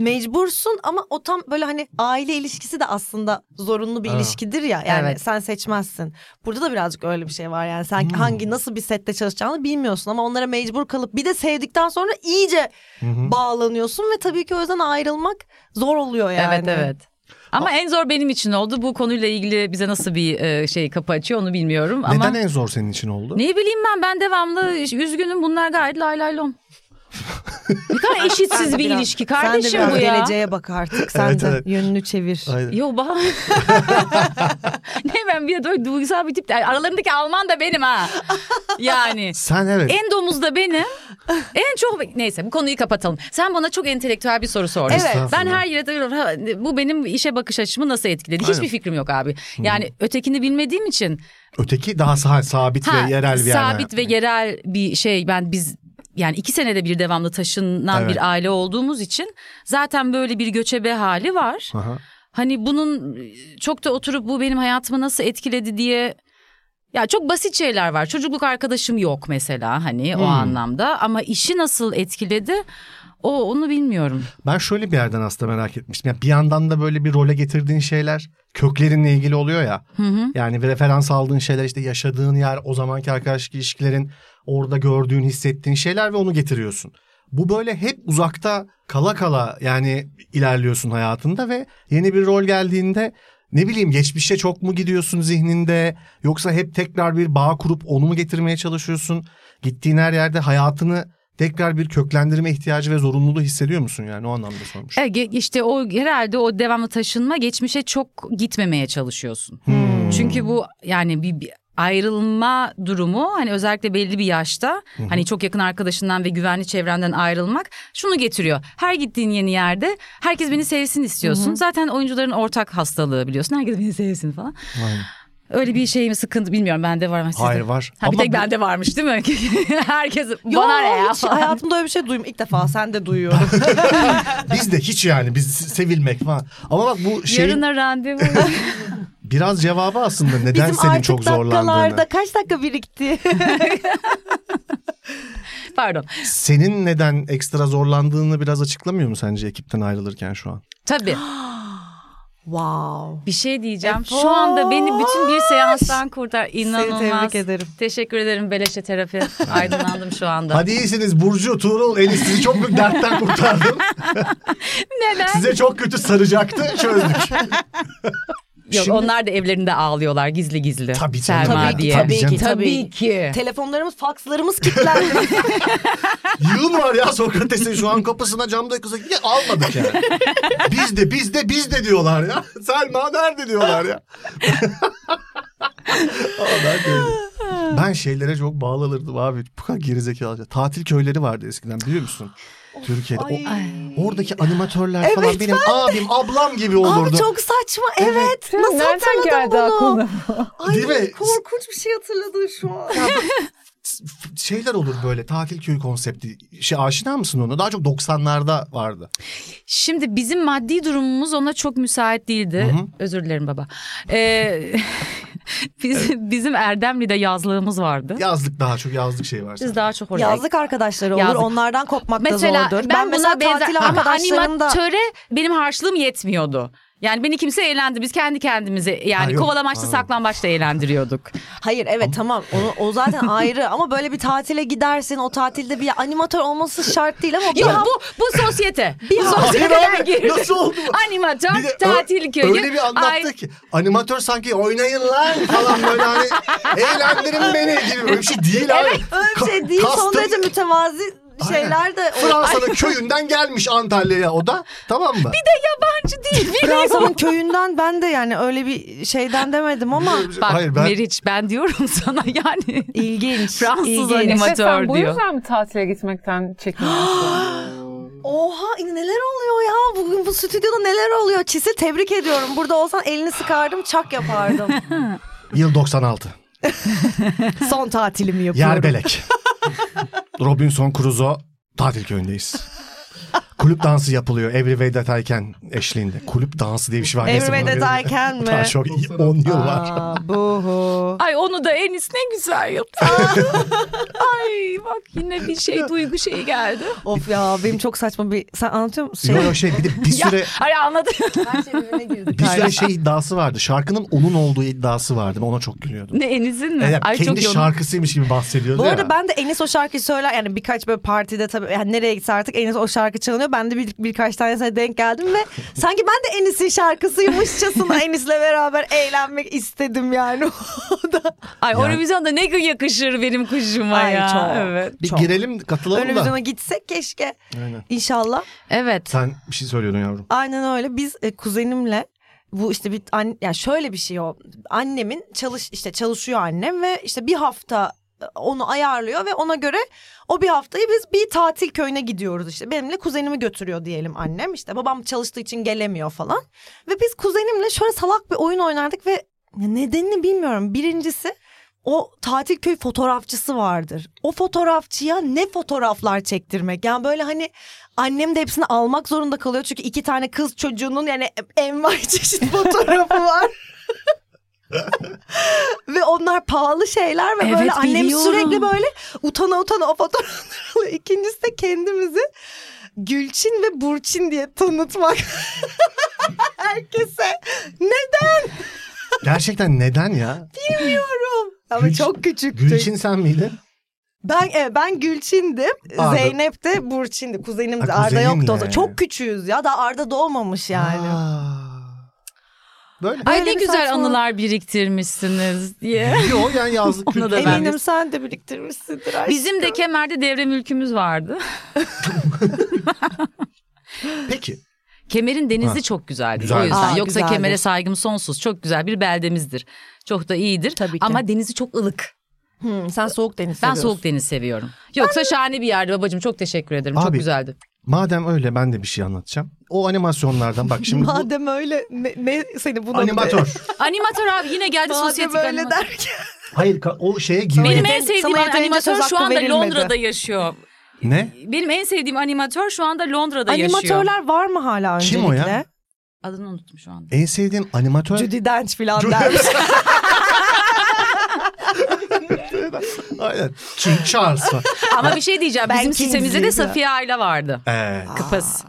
[SPEAKER 2] mecbursun ama o tam böyle hani aile ilişkisi de aslında zorunlu bir
[SPEAKER 3] Ha.
[SPEAKER 2] ilişkidir ya. Yani
[SPEAKER 4] Evet. Hmm.
[SPEAKER 2] sen seçmezsin. Burada da birazcık öyle bir şey var yani sen hangi nasıl bir sette çalışacağını bilmiyorsun ama onlara mecbur kalıp bir de sevdikten sonra iyice
[SPEAKER 3] hı.
[SPEAKER 2] bağlanıyorsun ve tabii ki o yüzden ayrılmak zor oluyor yani.
[SPEAKER 4] Evet evet. Ama en zor benim için oldu. Bu konuyla ilgili bize nasıl bir e, şey kapı açıyor onu bilmiyorum.
[SPEAKER 3] Neden
[SPEAKER 4] Ama
[SPEAKER 3] en zor senin için oldu?
[SPEAKER 4] ne bileyim ben ben devamlı üzgünüm bunlar gayet lay lay lon. Ne kadar eşitsiz bir
[SPEAKER 2] Biraz-
[SPEAKER 4] ilişki
[SPEAKER 2] sen
[SPEAKER 4] kardeşim
[SPEAKER 2] de biraz
[SPEAKER 4] bu ya.
[SPEAKER 2] geleceğe bak artık sen
[SPEAKER 3] Evet,
[SPEAKER 2] de
[SPEAKER 3] evet.
[SPEAKER 2] yönünü çevir.
[SPEAKER 3] Aynen.
[SPEAKER 4] Yo bah. ne ben bir de öyle duygusal bir tip. Aralarındaki Alman da benim ha. Yani.
[SPEAKER 3] Sen evet.
[SPEAKER 4] En domuz da benim. En çok neyse bu konuyu kapatalım. Sen bana çok entelektüel bir soru sordun.
[SPEAKER 2] Evet.
[SPEAKER 4] Ben
[SPEAKER 3] Estağfurullah.
[SPEAKER 4] her yere duyuyorum. Ha, Bu benim işe bakış açımı nasıl etkiledi? Hiçbir
[SPEAKER 3] Aynen.
[SPEAKER 4] fikrim yok abi. Yani ötekini bilmediğim için
[SPEAKER 3] Öteki daha sa- sabit
[SPEAKER 4] ha,
[SPEAKER 3] ve yerel bir yerden
[SPEAKER 4] sabit ve
[SPEAKER 3] yapmak.
[SPEAKER 4] yerel bir şey ben biz yani iki senede bir devamlı taşınan
[SPEAKER 3] Evet.
[SPEAKER 4] bir aile olduğumuz için zaten böyle bir göçebe hali var.
[SPEAKER 3] Aha.
[SPEAKER 4] Hani bunun çok da oturup bu benim hayatımı nasıl etkiledi diye ya çok basit şeyler var. Çocukluk arkadaşım yok mesela hani
[SPEAKER 3] Hmm.
[SPEAKER 4] o anlamda ama işi nasıl etkiledi? O onu bilmiyorum.
[SPEAKER 3] Ben şöyle bir yerden aslında merak etmiştim. Yani bir yandan da böyle bir role getirdiğin şeyler köklerinle ilgili oluyor ya. Yani bir referans aldığın şeyler işte yaşadığın yer, o zamanki arkadaşlık ilişkilerin, orada gördüğün, hissettiğin şeyler ve onu getiriyorsun. Bu böyle hep uzakta kala kala yani ilerliyorsun hayatında ve yeni bir rol geldiğinde ne bileyim geçmişe çok mu gidiyorsun zihninde yoksa hep tekrar bir bağ kurup onu mu getirmeye çalışıyorsun? Gittiğin her yerde hayatını tekrar bir köklendirme ihtiyacı ve zorunluluğu hissediyor musun yani o anlamda sormuş.
[SPEAKER 4] E, ge- işte o herhalde o devamlı taşınma geçmişe çok gitmemeye çalışıyorsun.
[SPEAKER 3] Hmm.
[SPEAKER 4] Çünkü bu yani bir, bir ayrılma durumu hani özellikle belli bir yaşta hani çok yakın arkadaşından ve güvenli çevrenden ayrılmak şunu getiriyor. Her gittiğin yeni yerde herkes beni sevsin istiyorsun. Zaten oyuncuların ortak hastalığı biliyorsun. Herkes beni sevsin falan.
[SPEAKER 3] Aynen.
[SPEAKER 4] Öyle bir şey mi sıkıntı bilmiyorum bende var ama sizde.
[SPEAKER 3] Hayır var.
[SPEAKER 4] Ha, bir
[SPEAKER 3] Ama
[SPEAKER 4] tek
[SPEAKER 3] bu-
[SPEAKER 4] bende varmış değil mi? herkes
[SPEAKER 2] Yo,
[SPEAKER 4] bana ne ya
[SPEAKER 2] hiç
[SPEAKER 4] falan.
[SPEAKER 2] hayatımda öyle bir şey duyum ilk defa sen de duyuyorum.
[SPEAKER 3] Biz de hiç yani biz sevilmek falan. Ama bak bu şey
[SPEAKER 4] Yarına randevu.
[SPEAKER 3] biraz cevabı aslında neden
[SPEAKER 2] Bizim
[SPEAKER 3] senin
[SPEAKER 2] artık
[SPEAKER 3] çok zorlandığını.
[SPEAKER 2] dakikalarda kaç dakika birikti?
[SPEAKER 4] Pardon.
[SPEAKER 3] Senin neden ekstra zorlandığını biraz açıklamıyor mu sence ekipten ayrılırken şu an?
[SPEAKER 4] Tabii.
[SPEAKER 2] wow.
[SPEAKER 4] Bir şey diyeceğim.
[SPEAKER 2] E,
[SPEAKER 4] Şu anda beni bütün bir seanstan kurtar.
[SPEAKER 2] Seni
[SPEAKER 4] İnanılmaz.
[SPEAKER 2] tebrik ederim.
[SPEAKER 4] Teşekkür ederim Beleşe Terapi. Aydınlandım şu anda.
[SPEAKER 3] Hadi iyisiniz Burcu, Tuğrul, Enis sizi çok büyük dertten kurtardım.
[SPEAKER 4] Neden?
[SPEAKER 3] Size çok kötü saracaktı, çözdük.
[SPEAKER 4] Yok
[SPEAKER 3] Şimdi-
[SPEAKER 4] onlar da evlerinde ağlıyorlar gizli gizli.
[SPEAKER 3] Tabii canım.
[SPEAKER 4] Selma
[SPEAKER 2] Tabii ki,
[SPEAKER 4] diye.
[SPEAKER 2] tabii ki, tabii
[SPEAKER 4] ki.
[SPEAKER 2] Telefonlarımız, fakslarımız kilitlendi.
[SPEAKER 3] Yığın var ya Sokrates'in şu an kapısına camda kısa ya almadık yani. Biz de biz de biz de diyorlar ya. Selma nerede diyorlar ya. Ama ben, de öyle. ben şeylere çok bağlanırdım abi. Bu kadar gerizekalıca. Tatil köyleri vardı eskiden biliyor musun? Türkiye'de. O, oradaki animatörler falan benim abim ablam gibi olurdu.
[SPEAKER 2] Abi çok saçma evet.
[SPEAKER 1] Şimdi
[SPEAKER 2] Nasıl
[SPEAKER 1] Şey, nereden geldi
[SPEAKER 2] hatırladın bunu?
[SPEAKER 1] aklına?
[SPEAKER 2] Ay
[SPEAKER 3] Değil mi?
[SPEAKER 2] korkunç bir şey hatırladım şu an.
[SPEAKER 3] Şeyler olur böyle tatil köyü konsepti. Şey, aşina mısın ona? Daha çok 90'larda vardı.
[SPEAKER 4] Şimdi bizim maddi durumumuz ona çok müsait değildi. Özür dilerim baba. Ee, biz, Bizim Erdemli'de yazlığımız vardı.
[SPEAKER 3] Yazlık daha çok yazlık şey var.
[SPEAKER 4] Biz daha çok oraya
[SPEAKER 2] Yazlık arkadaşları olur.
[SPEAKER 4] Yazlık.
[SPEAKER 2] Onlardan kopmak da
[SPEAKER 4] Mesela
[SPEAKER 2] zordur.
[SPEAKER 4] ben, buna benzer
[SPEAKER 2] tatil
[SPEAKER 4] ama
[SPEAKER 2] arkadaşlarım da
[SPEAKER 4] animatöre benim harçlığım yetmiyordu. Yani beni kimse eğlendi. Biz kendi kendimizi yani
[SPEAKER 6] yok.
[SPEAKER 4] kovalamaçla
[SPEAKER 6] Aa.
[SPEAKER 4] saklambaçla eğlendiriyorduk.
[SPEAKER 2] Hayır evet tamam onu, o zaten ayrı ama böyle bir tatile gidersin o tatilde bir animatör olması şart değil ama bir
[SPEAKER 4] Yok
[SPEAKER 2] hafta-
[SPEAKER 4] bu bu sosyete.
[SPEAKER 2] Bir hafta-
[SPEAKER 6] Hayır
[SPEAKER 4] Sosyeteden
[SPEAKER 6] abi
[SPEAKER 4] girdi.
[SPEAKER 6] nasıl oldu bu?
[SPEAKER 4] Animatör
[SPEAKER 6] Bir de ö-
[SPEAKER 4] tatil köyü.
[SPEAKER 6] Öyle bir anlattı
[SPEAKER 4] Ay,
[SPEAKER 6] ki animatör sanki oynayın lan falan böyle hani eğlendirin beni gibi böyle bir şey değil abi.
[SPEAKER 2] Öyle bir şey
[SPEAKER 6] Ka-
[SPEAKER 2] değil. Son
[SPEAKER 6] kastı-
[SPEAKER 2] derece mütevazi şeyler de
[SPEAKER 6] Fransa'nın köyünden gelmiş Antalya'ya o da tamam mı? Bir de
[SPEAKER 4] yabancı değil. Bir
[SPEAKER 2] Fransa'nın köyünden ben de yani öyle bir şeyden demedim ama
[SPEAKER 4] Bak
[SPEAKER 6] Hayır ben
[SPEAKER 4] Meriç ben diyorum sana yani.
[SPEAKER 2] şey. ilginç.
[SPEAKER 4] Fransız
[SPEAKER 2] ilginç.
[SPEAKER 4] anime-
[SPEAKER 1] Efe, sen
[SPEAKER 4] Amatör
[SPEAKER 1] bu
[SPEAKER 4] diyor.
[SPEAKER 1] yüzden mi tatile gitmekten çekiniyorsun?
[SPEAKER 2] Oha neler oluyor ya bugün bu stüdyoda neler oluyor Çisi tebrik ediyorum burada olsan elini sıkardım çak yapardım
[SPEAKER 6] yıl 96.
[SPEAKER 2] son tatilimi yapıyorum
[SPEAKER 6] Yerbelek. Robinson Crusoe tatil köyündeyiz. Kulüp dansı yapılıyor Everyway That I Can eşliğinde. Kulüp dansı diye bir şey var. Neyse,
[SPEAKER 2] Everyway
[SPEAKER 6] bunu
[SPEAKER 2] That I
[SPEAKER 6] bilmiyorum.
[SPEAKER 2] Can mi?
[SPEAKER 6] Daha çok 10 yıl var.
[SPEAKER 2] Aa, buhu.
[SPEAKER 4] Ay onu da Enis ne güzel yaptı. Ay bak yine bir şey duygu şeyi geldi.
[SPEAKER 2] Of ya benim çok saçma bir sen anlatıyor musun?
[SPEAKER 6] Yo, yo, şey bir de bir süre
[SPEAKER 4] Ay anladım.
[SPEAKER 2] Her şey birbirine girdi.
[SPEAKER 6] bir süre şey iddiası vardı. Şarkının onun olduğu iddiası vardı. Ben Ona çok gülüyordum.
[SPEAKER 4] Ne Enis'in mi?
[SPEAKER 6] Evet,
[SPEAKER 4] Ay
[SPEAKER 6] E, kendi
[SPEAKER 4] çok yoğun.
[SPEAKER 6] şarkısıymış gibi bahsediyordu
[SPEAKER 2] Bu
[SPEAKER 6] ya.
[SPEAKER 2] arada ben de Enis o şarkıyı söyler yani birkaç böyle partide tabii yani nereye gitse artık Enis o şarkı çalınıyor. Ben de bir, birkaç tanesine denk geldim ve sanki ben de Enis'in şarkısıymışçasına Enis'le beraber eğlenmek istedim yani o da.
[SPEAKER 4] Ay
[SPEAKER 6] Yani-
[SPEAKER 4] Eurovision'da ne yakışır benim kuşuma
[SPEAKER 2] Ay,
[SPEAKER 4] ya.
[SPEAKER 2] çok.
[SPEAKER 4] Evet.
[SPEAKER 6] Bir
[SPEAKER 2] Çok.
[SPEAKER 6] girelim katılalım
[SPEAKER 2] Eurovision'a
[SPEAKER 6] da.
[SPEAKER 2] gitsek keşke
[SPEAKER 6] Aynen.
[SPEAKER 2] İnşallah.
[SPEAKER 4] Evet.
[SPEAKER 6] Sen bir şey söylüyordun yavrum.
[SPEAKER 2] Aynen öyle biz e, kuzenimle bu işte bir an, yani şöyle bir şey o annemin çalış işte çalışıyor annem ve işte bir hafta e, onu ayarlıyor ve ona göre o bir haftayı biz bir tatil köyüne gidiyoruz işte benimle kuzenimi götürüyor diyelim annem işte babam çalıştığı için gelemiyor falan ve biz kuzenimle şöyle salak bir oyun oynardık ve ya nedenini bilmiyorum birincisi o tatil köy fotoğrafçısı vardır. O fotoğrafçıya ne fotoğraflar çektirmek. Yani böyle hani annem de hepsini almak zorunda kalıyor. Çünkü iki tane kız çocuğunun yani envai çeşit fotoğrafı var. ve onlar pahalı şeyler ve böyle
[SPEAKER 4] Evet,
[SPEAKER 2] annem
[SPEAKER 4] biliyorum.
[SPEAKER 2] sürekli böyle utana utana o fotoğrafları alıyor. İkincisi de kendimizi Gülçin ve Burçin diye tanıtmak. Herkese
[SPEAKER 6] Gerçekten neden ya?
[SPEAKER 2] ama
[SPEAKER 6] Gülç-
[SPEAKER 2] çok küçüktük.
[SPEAKER 6] Gülçin sen miydin?
[SPEAKER 2] Ben e, ben Gülçin'dim.
[SPEAKER 6] Arda-
[SPEAKER 2] Zeynep de Burçin'di. Kuzenimdi.
[SPEAKER 6] Ha,
[SPEAKER 2] Arda
[SPEAKER 6] kuzeninle.
[SPEAKER 2] yoktu o zaman. Çok küçüğüz ya. Daha Arda doğmamış yani.
[SPEAKER 6] Aa. Böyle.
[SPEAKER 4] Ay
[SPEAKER 2] Böyle
[SPEAKER 4] ne
[SPEAKER 2] bir
[SPEAKER 4] güzel
[SPEAKER 2] saçma-
[SPEAKER 4] anılar biriktirmişsiniz diye.
[SPEAKER 6] Yo yani yazlık
[SPEAKER 4] Ona
[SPEAKER 6] kültür.
[SPEAKER 4] da ben-
[SPEAKER 2] Eminim sen de biriktirmişsindir. Ay.
[SPEAKER 4] Bizim de kemerde devre mülkümüz vardı.
[SPEAKER 6] Peki.
[SPEAKER 4] Kemerin denizi
[SPEAKER 6] Ha.
[SPEAKER 4] çok güzeldi.
[SPEAKER 6] Güzeldi.
[SPEAKER 4] O yüzden.
[SPEAKER 2] Aa,
[SPEAKER 4] Yoksa
[SPEAKER 2] güzeldir.
[SPEAKER 4] kemere saygım sonsuz. Çok güzel bir beldemizdir. Çok da iyidir.
[SPEAKER 2] Tabii ki.
[SPEAKER 4] Ama denizi çok ılık.
[SPEAKER 2] Hı, sen soğuk deniz
[SPEAKER 4] Ben
[SPEAKER 2] seviyorsun.
[SPEAKER 4] soğuk deniz seviyorum. Yoksa şahane bir yerdi babacığım. Çok teşekkür ederim. çok
[SPEAKER 6] Abi,
[SPEAKER 4] güzeldi.
[SPEAKER 6] Madem öyle ben de bir şey anlatacağım. O animasyonlardan bak şimdi bu
[SPEAKER 2] Madem öyle ne, ne seni buna...
[SPEAKER 6] animatör.
[SPEAKER 4] Animatör abi yine geldi
[SPEAKER 2] Madem
[SPEAKER 4] sosyetik
[SPEAKER 2] öyle
[SPEAKER 4] animatör.
[SPEAKER 2] derken.
[SPEAKER 6] Hayır ka- o şeye giriyor.
[SPEAKER 4] Benim
[SPEAKER 2] Sana
[SPEAKER 4] en
[SPEAKER 2] yeterince-
[SPEAKER 4] sevdiğim
[SPEAKER 2] sana yeterince söz
[SPEAKER 4] animatör şu
[SPEAKER 2] hakkı
[SPEAKER 4] anda
[SPEAKER 2] verilmedi.
[SPEAKER 4] Londra'da yaşıyor.
[SPEAKER 6] Ne?
[SPEAKER 4] Benim en sevdiğim animatör şu anda Londra'da yaşıyor.
[SPEAKER 2] Animatörler var mı hala öncelikle?
[SPEAKER 6] Kim o ya?
[SPEAKER 4] Adını unuttum şu anda.
[SPEAKER 6] En sevdiğin animatör.
[SPEAKER 2] Judy Dench falan dermiş.
[SPEAKER 6] Aynen. Çünkü Charles var.
[SPEAKER 4] Ama bir şey diyeceğim.
[SPEAKER 2] Ben
[SPEAKER 4] Bizim
[SPEAKER 2] Kingsley'im
[SPEAKER 4] sitemizde de
[SPEAKER 2] ya.
[SPEAKER 4] Safiye Ayla vardı.
[SPEAKER 6] Ee,
[SPEAKER 4] Kıpız.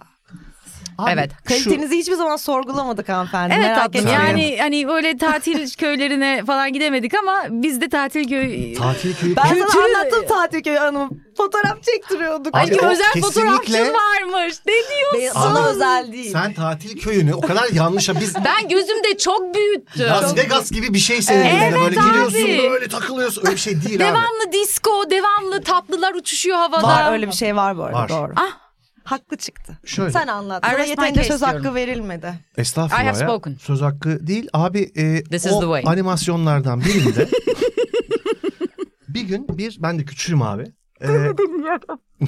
[SPEAKER 6] abi,
[SPEAKER 4] Evet.
[SPEAKER 6] şu-
[SPEAKER 2] Kalitenizi hiçbir zaman sorgulamadık hanımefendi.
[SPEAKER 4] Evet
[SPEAKER 2] Merak
[SPEAKER 4] tatlım
[SPEAKER 2] etmeyin.
[SPEAKER 4] yani hani böyle tatil köylerine falan gidemedik ama biz de tatil köy...
[SPEAKER 6] Tatil köyü.
[SPEAKER 2] Ben
[SPEAKER 4] Kültürü-
[SPEAKER 2] sana anlattım tatil köyü hanımı. Fotoğraf çektiriyorduk.
[SPEAKER 6] Abi
[SPEAKER 4] Ay
[SPEAKER 6] o
[SPEAKER 4] özel
[SPEAKER 6] kesinlikle-
[SPEAKER 4] fotoğrafçın varmış. Ne diyorsun?
[SPEAKER 2] Be- Sana
[SPEAKER 6] Abi,
[SPEAKER 2] özel değil.
[SPEAKER 6] Sen tatil köyünü o kadar yanlış. Biz
[SPEAKER 4] Ben gözümde çok büyüttüm.
[SPEAKER 6] Las Vegas gibi bir şey senin.
[SPEAKER 4] Evet
[SPEAKER 6] böyle
[SPEAKER 4] abi.
[SPEAKER 6] giriyorsun böyle takılıyorsun. Öyle bir şey değil abi.
[SPEAKER 4] Devamlı disco, devamlı tatlılar uçuşuyor havada.
[SPEAKER 2] Var öyle bir şey var bu arada
[SPEAKER 6] Var.
[SPEAKER 2] doğru.
[SPEAKER 4] Ah.
[SPEAKER 2] Haklı çıktı.
[SPEAKER 6] Şöyle.
[SPEAKER 2] Sen anlat.
[SPEAKER 4] I
[SPEAKER 2] Sana
[SPEAKER 4] rest my
[SPEAKER 2] yeterince
[SPEAKER 4] case
[SPEAKER 2] söz
[SPEAKER 4] diyorum.
[SPEAKER 2] hakkı verilmedi.
[SPEAKER 6] Estağfurullah
[SPEAKER 4] I have
[SPEAKER 6] ya.
[SPEAKER 4] spoken.
[SPEAKER 6] Söz hakkı değil. Abi e,
[SPEAKER 4] This is the
[SPEAKER 6] o
[SPEAKER 4] way.
[SPEAKER 6] animasyonlardan birinde bir gün bir ben de küçüğüm abi. E,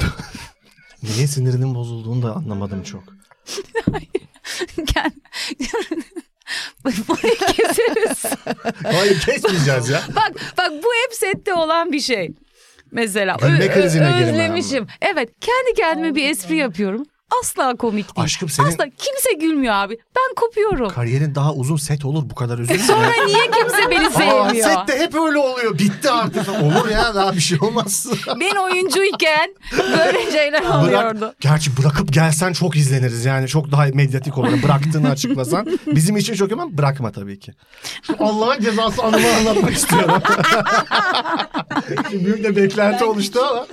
[SPEAKER 6] niye sinirinin bozulduğunu da anlamadım çok.
[SPEAKER 4] Gel. Burayı keseriz.
[SPEAKER 6] Hayır kesmeyeceğiz ya.
[SPEAKER 4] bak bak bu hep sette olan bir şey. Mesela
[SPEAKER 6] Gülme krizine girme
[SPEAKER 4] özlemişim. Evet kendi kendime bir espri yapıyorum. asla komik değil.
[SPEAKER 6] Aşkım senin
[SPEAKER 4] Asla kimse gülmüyor abi. Ben kopuyorum.
[SPEAKER 6] kariyerin daha uzun set olur bu kadar üzülme. ya.
[SPEAKER 4] Sonra niye kimse beni
[SPEAKER 6] Aa,
[SPEAKER 4] sevmiyor?
[SPEAKER 6] sette hep öyle oluyor. Bitti artık. olur ya daha bir şey olmaz.
[SPEAKER 4] Ben oyuncuyken böyle şeyler oluyordu.
[SPEAKER 6] Bırak, gerçi bırakıp gelsen çok izleniriz yani çok daha medyatik olur. Bıraktığını açıklasan bizim için çok hemen bırakma tabii ki. Şu Allah'ın cezası anımı anlatmak istiyorum. Şimdi Büyük de beklenti oluştu ama.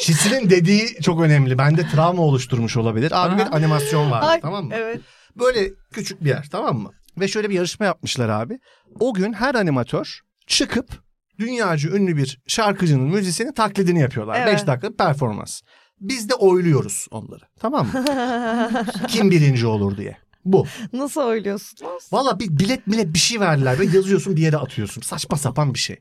[SPEAKER 6] Şisi'nin dediği çok önemli. Bende travma oluşturmuş olabilir. Abi bir animasyon var
[SPEAKER 2] Ay,
[SPEAKER 6] tamam mı?
[SPEAKER 2] Evet.
[SPEAKER 6] Böyle küçük bir yer tamam mı? Ve şöyle bir yarışma yapmışlar abi. O gün her animatör çıkıp dünyacı ünlü bir şarkıcının müzisyenin taklidini yapıyorlar. 5
[SPEAKER 2] Evet.
[SPEAKER 6] dakikalık performans. Biz de oyluyoruz onları. Tamam mı? Kim birinci olur diye. Bu.
[SPEAKER 2] Nasıl oyluyorsun?
[SPEAKER 6] Valla bir bilet bile bir şey verdiler ve yazıyorsun bir yere atıyorsun. Saçma sapan bir şey.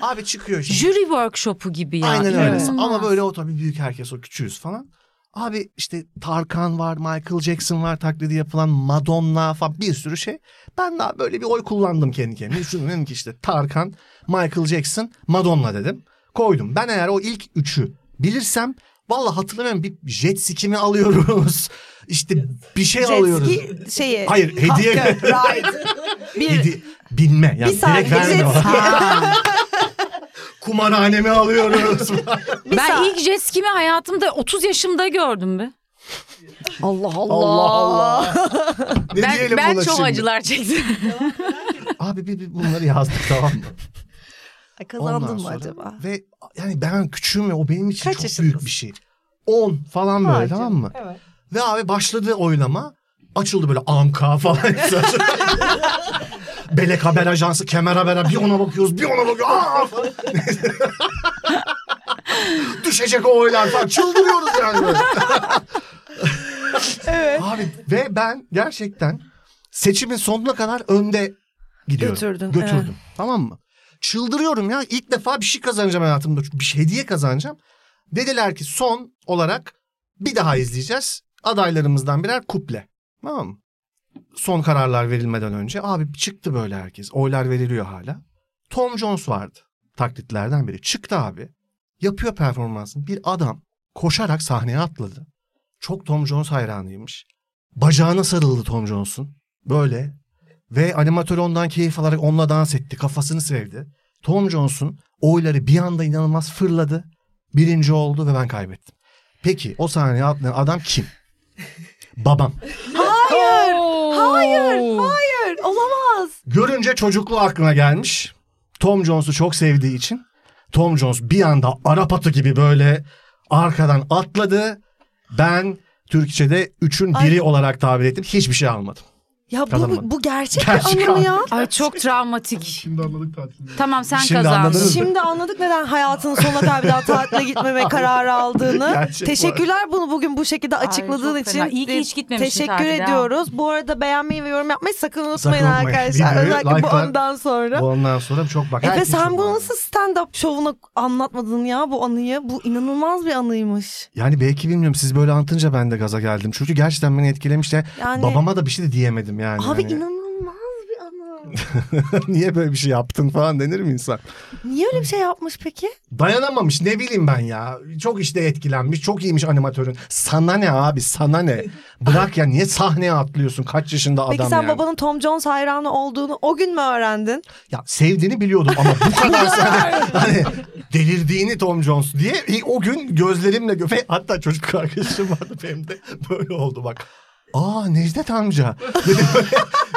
[SPEAKER 6] Abi çıkıyor şimdi.
[SPEAKER 4] Jüri workshopu gibi ya.
[SPEAKER 6] Aynen öyle.
[SPEAKER 4] inanılmaz.
[SPEAKER 6] Ama böyle o tabii büyük herkes o küçüğüz falan. Abi işte Tarkan var, Michael Jackson var taklidi yapılan Madonna falan bir sürü şey. Ben daha böyle bir oy kullandım kendi kendime. Şunu dedim ki işte Tarkan, Michael Jackson, Madonna dedim. Koydum. Ben eğer o ilk üçü bilirsem valla hatırlamıyorum bir jet ski mi alıyoruz? İşte bir şey alıyoruz.
[SPEAKER 2] Jet ski şeyi.
[SPEAKER 6] Hayır hediye.
[SPEAKER 2] Ride. Bir,
[SPEAKER 6] Hedi- binme. Yani
[SPEAKER 2] bir saat
[SPEAKER 6] direkt verme.
[SPEAKER 2] jet ski.
[SPEAKER 6] Kumarhanemi alıyoruz.
[SPEAKER 4] ben ilk jet skimi hayatımda 30 yaşımda gördüm be.
[SPEAKER 2] Allah Allah.
[SPEAKER 6] Allah Allah. ne
[SPEAKER 4] Ben,
[SPEAKER 6] diyelim
[SPEAKER 4] ben
[SPEAKER 6] buna
[SPEAKER 4] çok
[SPEAKER 6] şimdi?
[SPEAKER 4] acılar çektim.
[SPEAKER 6] Abi bir, bir bunları yazdık tamam mı?
[SPEAKER 2] Ay, Kazandın
[SPEAKER 6] Ondan
[SPEAKER 2] müm
[SPEAKER 6] sonra-
[SPEAKER 2] acaba?
[SPEAKER 6] Ve yani ben küçüğüm ve o benim için
[SPEAKER 2] Kaç
[SPEAKER 6] çok
[SPEAKER 2] yaşındasın?
[SPEAKER 6] büyük bir şey. 10 falan böyle
[SPEAKER 2] Harbi.
[SPEAKER 6] tamam mı?
[SPEAKER 2] Evet.
[SPEAKER 6] Ve abi başladı oylama. Açıldı böyle AMK falan. Belek Haber Ajansı, Kemer Haber bir ona bakıyoruz bir ona bakıyoruz. Aa! falan. Düşecek o oylar falan çıldırıyoruz yani böyle. Abi ve ben gerçekten seçimin sonuna kadar önde gidiyorum.
[SPEAKER 2] Götürdün,
[SPEAKER 6] Götürdüm. Tamam mı? Çıldırıyorum ya. İlk defa bir şey kazanacağım hayatımda. Bir şey- hediye kazanacağım. Dediler ki son olarak bir daha izleyeceğiz. Adaylarımızdan birer kuple. Tamam mı? Son kararlar verilmeden önce. Abi çıktı böyle herkes. Oylar veriliyor hala. Tom Jones vardı. Taklitlerden biri. Çıktı abi. Yapıyor performansını. Bir adam koşarak sahneye atladı. Çok Tom Jones hayranıymış. Bacağına sarıldı Tom Jones'un. Böyle. Ve animatör ondan keyif alarak onunla dans etti. Kafasını sevdi. Tom Jones'un oyları bir anda inanılmaz fırladı. Birinci oldu ve ben kaybettim. Peki o sahneye atlayan adam kim? Babam.
[SPEAKER 2] Hayır. Hayır. Hayır. Olamaz.
[SPEAKER 6] Görünce çocukluğu aklına gelmiş. Tom Jones'u çok sevdiği için. Tom Jones bir anda Arap atı gibi böyle arkadan atladı. Ben Türkçe'de üçün
[SPEAKER 2] Ay.
[SPEAKER 6] biri olarak tabir ettim. Hiçbir şey almadım.
[SPEAKER 2] Ya bu, bu,
[SPEAKER 6] Kazanamadım.
[SPEAKER 2] bu gerçek,
[SPEAKER 6] Gerçek
[SPEAKER 2] bir anı mı ya?
[SPEAKER 4] Ay çok travmatik.
[SPEAKER 7] Şimdi anladık tatilini.
[SPEAKER 4] Tamam sen
[SPEAKER 6] Şimdi
[SPEAKER 4] kazandın.
[SPEAKER 6] anladınız.
[SPEAKER 2] Şimdi anladık neden hayatının sonuna kadar bir daha tatile gitmeme kararı aldığını.
[SPEAKER 6] Gerçek bu
[SPEAKER 2] Teşekkürler bunu bugün bu şekilde
[SPEAKER 4] Ay,
[SPEAKER 2] açıkladığın
[SPEAKER 4] çok
[SPEAKER 2] için.
[SPEAKER 4] fena. İyi ki hiç gitmemişsin
[SPEAKER 2] Teşekkür
[SPEAKER 4] tatile, ha.
[SPEAKER 2] ediyoruz. Bu arada beğenmeyi ve yorum yapmayı sakın unutmayın
[SPEAKER 6] unutmayın.
[SPEAKER 2] arkadaşlar.
[SPEAKER 6] Videoyu
[SPEAKER 2] Özellikle bu
[SPEAKER 6] like'lar-
[SPEAKER 2] andan sonra.
[SPEAKER 6] Bu ondan sonra çok bak.
[SPEAKER 2] Efe
[SPEAKER 6] herkes
[SPEAKER 2] sen
[SPEAKER 6] çok
[SPEAKER 2] bunu
[SPEAKER 6] bağlı.
[SPEAKER 2] nasıl stand-up şovuna anlatmadın ya bu anıyı? Bu inanılmaz bir anıymış.
[SPEAKER 6] Yani Hani belki bilmiyorum siz böyle anlatınca ben de gaza geldim. Çünkü gerçekten beni etkilemişti.
[SPEAKER 2] Yani
[SPEAKER 6] Babama da bir şey de diyemedim yani.
[SPEAKER 2] abi
[SPEAKER 6] Hani,
[SPEAKER 2] inanılmaz bir anı.
[SPEAKER 6] Niye böyle bir şey yaptın falan denir mi insan?
[SPEAKER 2] Niye öyle bir şey yapmış peki?
[SPEAKER 6] Dayanamamış ne bileyim ben ya. Çok işte etkilenmiş. Çok iyiymiş animatörün. Sana ne abi sana ne? Bırak ya niye sahneye atlıyorsun? Kaç yaşında adam
[SPEAKER 2] Peki sen
[SPEAKER 6] yani?
[SPEAKER 2] babanın Tom Jones hayranı olduğunu o gün mü öğrendin?
[SPEAKER 6] Ya sevdiğini biliyordum ama bu kadar sene hani delirdiğini Tom Jones diye e, o gün gözlerimle gö- ve hatta çocuk arkadaşım vardı benim de böyle oldu bak. Aa Necdet amca. Dedim böyle,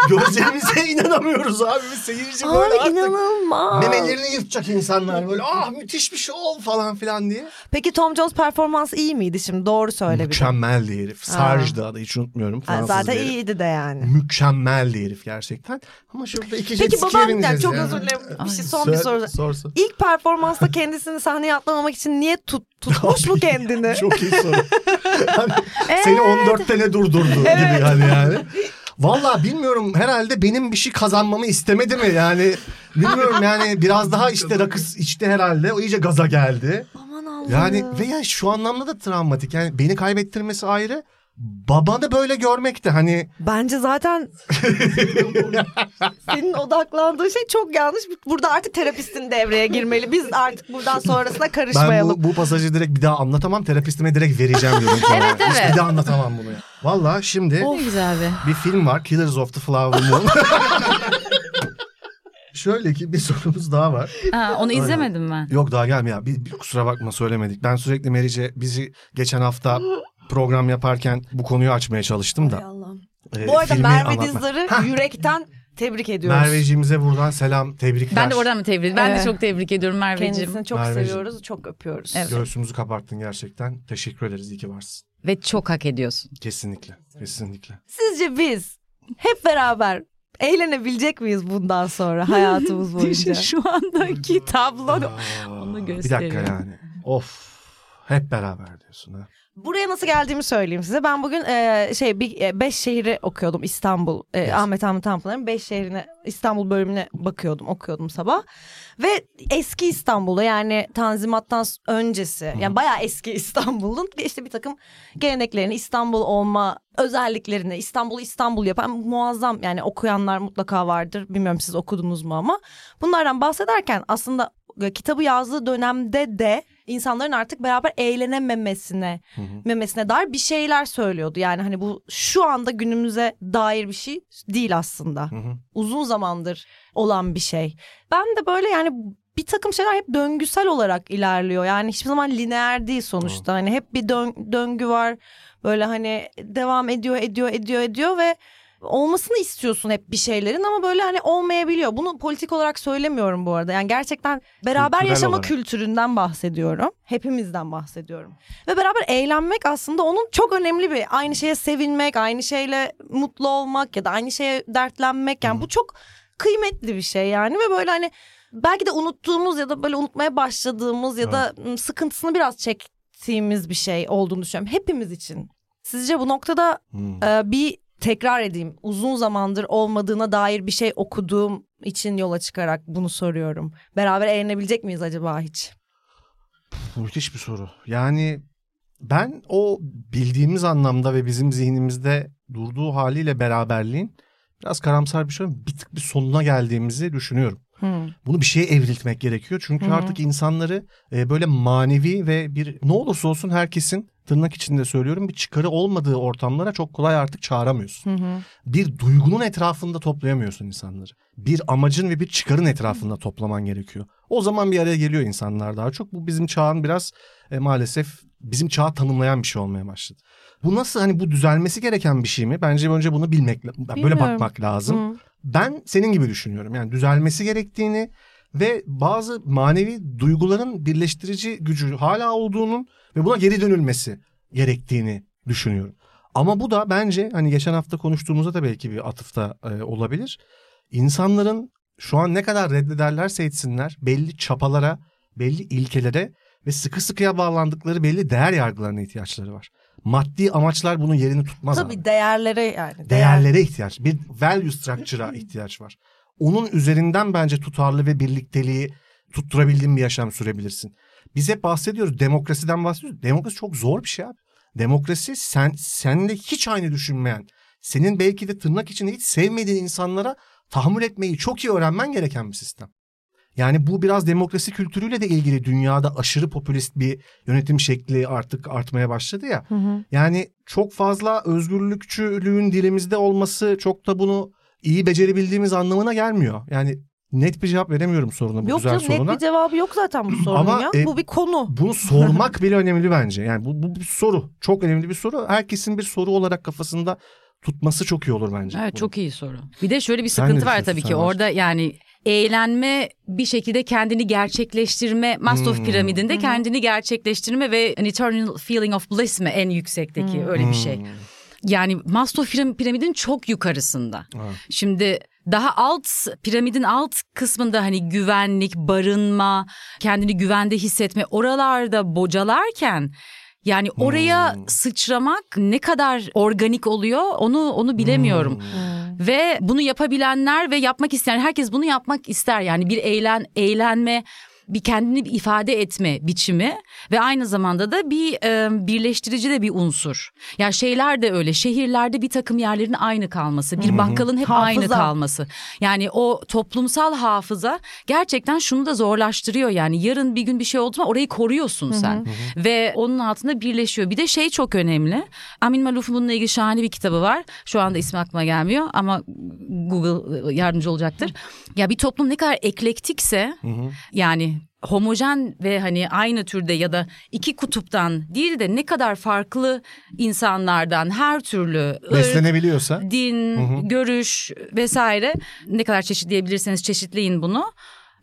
[SPEAKER 6] Gözlerimize inanamıyoruz abi biz seyirci
[SPEAKER 2] Abi
[SPEAKER 6] böyle E, artık.
[SPEAKER 2] inanılmaz.
[SPEAKER 6] Memelerini yırtacak insanlar böyle ah müthiş bir şey ol falan filan diye.
[SPEAKER 2] Peki Tom Jones performansı iyi miydi şimdi? Doğru söyle bir. de.
[SPEAKER 6] Mükemmeldi herif. Sarge'dı adı hiç unutmuyorum.
[SPEAKER 2] Ha,
[SPEAKER 6] Fransız
[SPEAKER 2] zaten
[SPEAKER 6] bir herif.
[SPEAKER 2] iyiydi de yani.
[SPEAKER 6] Mükemmeldi herif gerçekten. Ama şurada iki jet
[SPEAKER 2] Peki
[SPEAKER 6] ski'ye
[SPEAKER 2] babam
[SPEAKER 6] bineceğiz
[SPEAKER 2] çok
[SPEAKER 6] yani.
[SPEAKER 2] özür dilerim. Bir şey
[SPEAKER 6] Ay,
[SPEAKER 2] son bir
[SPEAKER 6] sor-
[SPEAKER 2] soru.
[SPEAKER 6] sor, sor.
[SPEAKER 2] İlk performansta kendisini sahneye atlamamak için niye tut, tutmuş mu kendini?
[SPEAKER 6] Çok iyi soru. Hani Seni 14 tane durdurdu gibi yani yani. Valla bilmiyorum herhalde benim bir şey kazanmamı istemedi mi yani bilmiyorum yani biraz daha işte rakıs içti herhalde o iyice gaza geldi.
[SPEAKER 2] Aman Allah'ım.
[SPEAKER 6] Yani veya şu anlamda da travmatik yani beni kaybettirmesi ayrı
[SPEAKER 3] babanı böyle görmek de hani
[SPEAKER 2] Bence zaten senin odaklandığın şey çok yanlış. Burada artık terapistin devreye girmeli. Biz artık buradan sonrasına
[SPEAKER 3] ben
[SPEAKER 2] karışmayalım.
[SPEAKER 3] bu, bu pasajı direkt bir daha anlatamam terapistime direkt vereceğim diyorum. evet Hiç
[SPEAKER 4] evet.
[SPEAKER 3] bir daha anlatamam bunu. ya. Valla şimdi
[SPEAKER 4] Ne güzel be.
[SPEAKER 3] bir film var Killers of the Flower Moon. Şöyle ki bir sorumuz daha var.
[SPEAKER 4] Ha, onu
[SPEAKER 3] Aynen.
[SPEAKER 4] izlemedim ben.
[SPEAKER 3] Yok daha gelmiyor. Bir, bir kusura bakma söylemedik. Ben sürekli Meriç'e bizi geçen hafta program yaparken bu konuyu açmaya çalıştım
[SPEAKER 2] Hay
[SPEAKER 3] da.
[SPEAKER 2] Allah'ım.
[SPEAKER 3] e,
[SPEAKER 2] Bu arada
[SPEAKER 3] filmi
[SPEAKER 2] Merve
[SPEAKER 3] anlatma.
[SPEAKER 2] Dizdar'ı yürekten tebrik ediyoruz.
[SPEAKER 3] Merveciğimize buradan selam, tebrikler.
[SPEAKER 4] Ben de oradan mı tebrik? Ben
[SPEAKER 2] Evet.
[SPEAKER 4] de çok tebrik ediyorum Merveciğim.
[SPEAKER 2] Kendisini çok
[SPEAKER 3] Merveciğim.
[SPEAKER 2] seviyoruz, çok öpüyoruz.
[SPEAKER 3] Göğsümüzü kabarttın gerçekten. Teşekkür ederiz. İyi ki varsın.
[SPEAKER 4] Ve çok hak ediyorsun.
[SPEAKER 3] Kesinlikle. Kesinlikle.
[SPEAKER 2] Sizce biz hep beraber eğlenebilecek miyiz bundan sonra hayatımız boyunca?
[SPEAKER 4] Düşün
[SPEAKER 3] Şey.
[SPEAKER 4] şu andaki tablo.
[SPEAKER 3] Aa,
[SPEAKER 4] onu
[SPEAKER 3] bir dakika
[SPEAKER 4] gösteriyor.
[SPEAKER 3] yani. Of. Hep beraber diyorsun ha.
[SPEAKER 2] Buraya nasıl geldiğimi söyleyeyim size. Ben bugün e, şey bir, e, beş şehri okuyordum İstanbul. E,
[SPEAKER 3] Yes.
[SPEAKER 2] Ahmet Hamit Tanpınar'ın beş şehrine İstanbul bölümüne bakıyordum, okuyordum sabah. Ve eski İstanbul'da yani Tanzimat'tan s- öncesi yani bayağı eski İstanbul'un bir- işte bir takım geleneklerini, İstanbul olma özelliklerini, İstanbul'u İstanbul yapan muazzam yani okuyanlar mutlaka vardır. Bilmiyorum siz okudunuz mu ama bunlardan bahsederken aslında kitabı yazdığı dönemde de insanların artık beraber eğlenememesine memesine dair bir şeyler söylüyordu. Yani hani bu şu anda günümüze dair bir şey değil aslında.
[SPEAKER 3] hı.
[SPEAKER 2] Uzun zamandır olan bir şey. Ben de böyle yani bir takım şeyler hep döngüsel olarak ilerliyor. Yani hiçbir zaman lineer değil sonuçta. Hani hep bir dön- döngü var. Böyle hani devam ediyor, ediyor, ediyor, ediyor ve olmasını istiyorsun hep bir şeylerin ama böyle hani olmayabiliyor. Bunu politik olarak söylemiyorum bu arada. Yani gerçekten beraber
[SPEAKER 3] Kültürel
[SPEAKER 2] yaşama
[SPEAKER 3] olarak.
[SPEAKER 2] kültüründen bahsediyorum. Hepimizden bahsediyorum. Ve beraber eğlenmek aslında onun çok önemli bir aynı şeye sevinmek, aynı şeyle mutlu olmak ya da aynı şeye dertlenmek yani bu çok kıymetli bir şey yani ve böyle hani belki de unuttuğumuz ya da böyle unutmaya başladığımız ya da ım, sıkıntısını biraz çektiğimiz bir şey olduğunu düşünüyorum hepimiz için. Sizce bu noktada
[SPEAKER 3] Hmm.
[SPEAKER 2] e, bir tekrar edeyim. Uzun zamandır olmadığına dair bir şey okuduğum için yola çıkarak bunu soruyorum. Beraber eğlenebilecek miyiz acaba hiç?
[SPEAKER 3] Müthiş bir soru. Yani ben o bildiğimiz anlamda ve bizim zihnimizde durduğu haliyle beraberliğin biraz karamsar bir şey ama bir tık bir sonuna geldiğimizi düşünüyorum. Bunu bir şeye evriltmek gerekiyor. Çünkü
[SPEAKER 2] Hı hı.
[SPEAKER 3] artık insanları e, böyle manevi ve bir ne olursa olsun herkesin tırnak içinde söylüyorum bir çıkarı olmadığı ortamlara çok kolay artık çağıramıyorsun
[SPEAKER 2] Hı hı.
[SPEAKER 3] bir duygunun etrafında toplayamıyorsun insanları. Bir amacın ve bir çıkarın etrafında toplaman gerekiyor. O zaman bir araya geliyor insanlar daha çok. Bu bizim çağın biraz e, maalesef bizim çağı tanımlayan bir şey olmaya başladı. Bu nasıl hani bu düzelmesi gereken bir şey mi? Bence önce bunu bilmek böyle
[SPEAKER 2] Bilmiyorum.
[SPEAKER 3] bakmak lazım.
[SPEAKER 2] Hı.
[SPEAKER 3] Ben senin gibi düşünüyorum. Yani düzelmesi gerektiğini ve bazı manevi duyguların birleştirici gücü hala olduğunun ve buna geri dönülmesi gerektiğini düşünüyorum. Ama bu da bence hani geçen hafta konuştuğumuzda da belki bir atıfta e, olabilir. İnsanların şu an ne kadar reddederlerse etsinler belli çapalara, belli ilkelere ve sıkı sıkıya bağlandıkları belli değer yargılarına ihtiyaçları var. Maddi amaçlar bunun yerini tutmaz. abi
[SPEAKER 2] Tabii değerlere yani. değer-
[SPEAKER 3] değerlere ihtiyaç, bir value structure'a ihtiyaç var. Onun üzerinden bence tutarlı ve birlikteliği tutturabildiğin bir yaşam sürebilirsin. Biz hep bahsediyoruz demokrasiden bahsediyoruz. Demokrasi çok zor bir şey abi. Demokrasi sen seninle hiç aynı düşünmeyen, senin belki de tırnak içinde hiç sevmediğin insanlara tahammül etmeyi çok iyi öğrenmen gereken bir sistem. Yani bu biraz demokrasi kültürüyle de ilgili dünyada aşırı popülist bir yönetim şekli artık artmaya başladı ya.
[SPEAKER 2] Hı hı.
[SPEAKER 3] Yani çok fazla özgürlükçülüğün dilimizde olması çok da bunu iyi becerebildiğimiz anlamına gelmiyor. Yani net bir cevap veremiyorum soruna bu
[SPEAKER 2] Yok
[SPEAKER 3] güzel
[SPEAKER 2] canım
[SPEAKER 3] soruna.
[SPEAKER 2] net bir cevabı yok zaten bu sorunun
[SPEAKER 3] Ama,
[SPEAKER 2] ya.
[SPEAKER 3] e,
[SPEAKER 2] bu bir konu.
[SPEAKER 3] Bunu sormak bile önemli bence. Yani bu, bu bir soru. Çok önemli bir soru. Herkesin bir soru olarak kafasında tutması çok iyi olur bence.
[SPEAKER 4] Evet
[SPEAKER 3] Bu.
[SPEAKER 4] çok iyi soru. Bir de şöyle bir şey
[SPEAKER 3] Sen ne
[SPEAKER 4] sıkıntı var
[SPEAKER 3] düşünüyorsun
[SPEAKER 4] tabii ki.
[SPEAKER 3] sen Barış?
[SPEAKER 4] Orada yani eğlenme bir şekilde kendini gerçekleştirme Maslow
[SPEAKER 3] Hmm.
[SPEAKER 4] piramidinde
[SPEAKER 2] Hı hı.
[SPEAKER 4] kendini gerçekleştirme ve an eternal feeling of bliss mi en yüksekteki
[SPEAKER 2] Hmm.
[SPEAKER 4] öyle bir şey.
[SPEAKER 3] Hmm.
[SPEAKER 4] Yani Maslow piram- piramidin çok yukarısında.
[SPEAKER 3] Evet.
[SPEAKER 4] Şimdi daha alt piramidin alt kısmında hani güvenlik, barınma, kendini güvende hissetme oralarda bocalarken yani oraya
[SPEAKER 3] Hmm.
[SPEAKER 4] sıçramak ne kadar organik oluyor onu onu bilemiyorum.
[SPEAKER 3] Hmm.
[SPEAKER 4] Ve bunu yapabilenler ve yapmak isteyen herkes bunu yapmak ister. Yani bir eğlen eğlenme bir kendini bir ifade etme biçimi ve aynı zamanda da bir e, birleştirici de bir unsur. Ya yani şeyler de öyle. Şehirlerde bir takım yerlerin aynı kalması, bir bakkalın hep aynı
[SPEAKER 2] Hafıza.
[SPEAKER 4] kalması. Yani o toplumsal hafıza gerçekten şunu da zorlaştırıyor yani. Yarın bir gün bir şey oldu mu orayı koruyorsun sen ve onun altında birleşiyor. Bir de şey çok önemli. Amin Maluf'un bununla ilgili şahane bir kitabı var. Şu anda ismi aklıma gelmiyor ama Google ıı, yardımcı olacaktır. Ya bir toplum ne kadar eklektikse yani homojen ve hani aynı türde ya da iki kutuptan değil de ne kadar farklı insanlardan her türlü ırk,
[SPEAKER 3] Beslenebiliyorsa.
[SPEAKER 4] din, görüş vesaire ne kadar çeşitleyebilirseniz çeşitleyin bunu.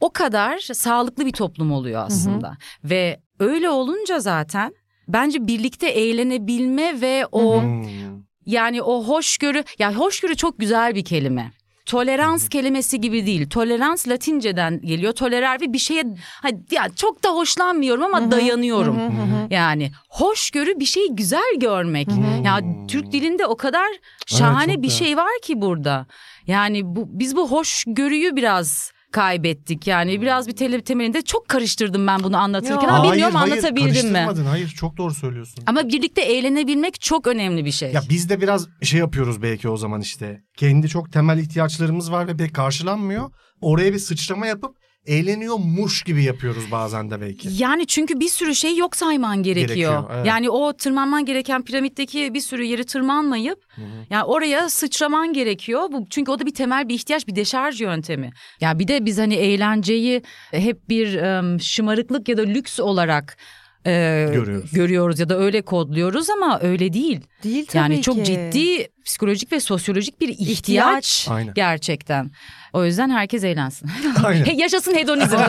[SPEAKER 4] O kadar sağlıklı bir toplum oluyor aslında. Ve öyle olunca zaten bence birlikte eğlenebilme ve o
[SPEAKER 3] Hmm.
[SPEAKER 4] yani o hoşgörü ya hoşgörü çok güzel bir kelime. Tolerans kelimesi gibi değil. Tolerans Latinceden geliyor. Tolerer ve bir şeye hadi ya çok da hoşlanmıyorum ama dayanıyorum. Yani hoşgörü bir şeyi güzel görmek. Ya Türk dilinde o kadar şahane
[SPEAKER 3] çok
[SPEAKER 4] bir
[SPEAKER 3] güzel.
[SPEAKER 4] şey var ki burada. Yani bu biz bu hoşgörüyü biraz kaybettik. Yani biraz bir tele- temelinde çok karıştırdım ben bunu anlatırken ama
[SPEAKER 3] Hayır,
[SPEAKER 4] bilmiyorum
[SPEAKER 3] hayır,
[SPEAKER 4] anlatabildim mi?
[SPEAKER 3] karıştırmadın. Hayır çok doğru söylüyorsun.
[SPEAKER 4] Ama birlikte eğlenebilmek çok önemli bir şey.
[SPEAKER 3] Ya biz de biraz şey yapıyoruz belki o zaman işte. Kendi çok temel ihtiyaçlarımız var ve pek karşılanmıyor. Oraya bir sıçrama yapıp eğleniyormuş gibi yapıyoruz bazen de belki.
[SPEAKER 4] Yani çünkü bir sürü şey yok sayman gerekiyor.
[SPEAKER 3] Gerekiyor, evet.
[SPEAKER 4] Yani o tırmanman gereken piramitteki bir sürü yeri tırmanmayıp yani oraya sıçraman gerekiyor. Bu çünkü o da bir temel bir ihtiyaç, bir deşarj yöntemi. Ya bir de biz hani eğlenceyi hep bir em, şımarıklık ya da lüks olarak e,
[SPEAKER 3] Görüyoruz.
[SPEAKER 4] görüyoruz ya da öyle kodluyoruz ama öyle değil.
[SPEAKER 2] Değil tabii
[SPEAKER 4] yani çok
[SPEAKER 2] ki.
[SPEAKER 4] ciddi psikolojik ve sosyolojik bir ihtiyaç,
[SPEAKER 2] İhtiyaç.
[SPEAKER 3] Aynen.
[SPEAKER 4] gerçekten. O yüzden herkes eğlensin.
[SPEAKER 3] Aynen.
[SPEAKER 4] He- Yaşasın hedonizm.
[SPEAKER 3] Ve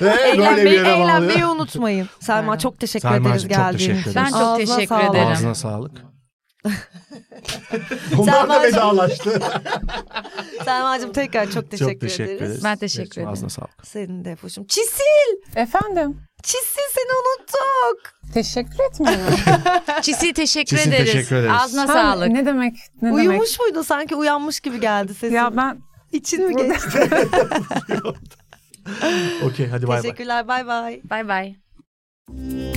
[SPEAKER 3] böyle bir
[SPEAKER 2] Eğlenmeyi,
[SPEAKER 3] yere bağlıyor.
[SPEAKER 2] eğlenmeyi unutmayın. Selma çok teşekkür ederiz
[SPEAKER 3] Selma'cığım çok
[SPEAKER 2] geldiğin
[SPEAKER 3] teşekkür
[SPEAKER 2] için.
[SPEAKER 3] ederiz.
[SPEAKER 4] ben çok
[SPEAKER 2] Ağzına
[SPEAKER 4] teşekkür
[SPEAKER 2] sağlık.
[SPEAKER 4] ederim.
[SPEAKER 3] Ağzına sağlık. Bunlar da
[SPEAKER 2] Selma'cığım,
[SPEAKER 3] vedalaştı.
[SPEAKER 2] Selma'cığım tekrar çok teşekkür,
[SPEAKER 3] çok teşekkür ederiz.
[SPEAKER 2] ederiz.
[SPEAKER 4] Ben teşekkür ederim.
[SPEAKER 3] Ağzına sağlık.
[SPEAKER 2] Senin de Efoş'um. Çisi,
[SPEAKER 1] Efendim,
[SPEAKER 2] çisi seni unuttuk.
[SPEAKER 1] teşekkür etmiyorum.
[SPEAKER 4] Çisi teşekkür
[SPEAKER 3] Çisi,
[SPEAKER 4] ederiz.
[SPEAKER 3] teşekkür ederiz.
[SPEAKER 4] Ağzına
[SPEAKER 1] Sen
[SPEAKER 4] sağlık.
[SPEAKER 1] Ne demek? Ne demek?
[SPEAKER 2] Uyumuş muydun sanki uyanmış gibi geldi sesin.
[SPEAKER 1] Ya ben
[SPEAKER 2] İçin mi
[SPEAKER 1] Burada-
[SPEAKER 2] geçti?
[SPEAKER 3] Okey hadi bay bay.
[SPEAKER 2] Teşekkürler bay bay.
[SPEAKER 4] Bay bay.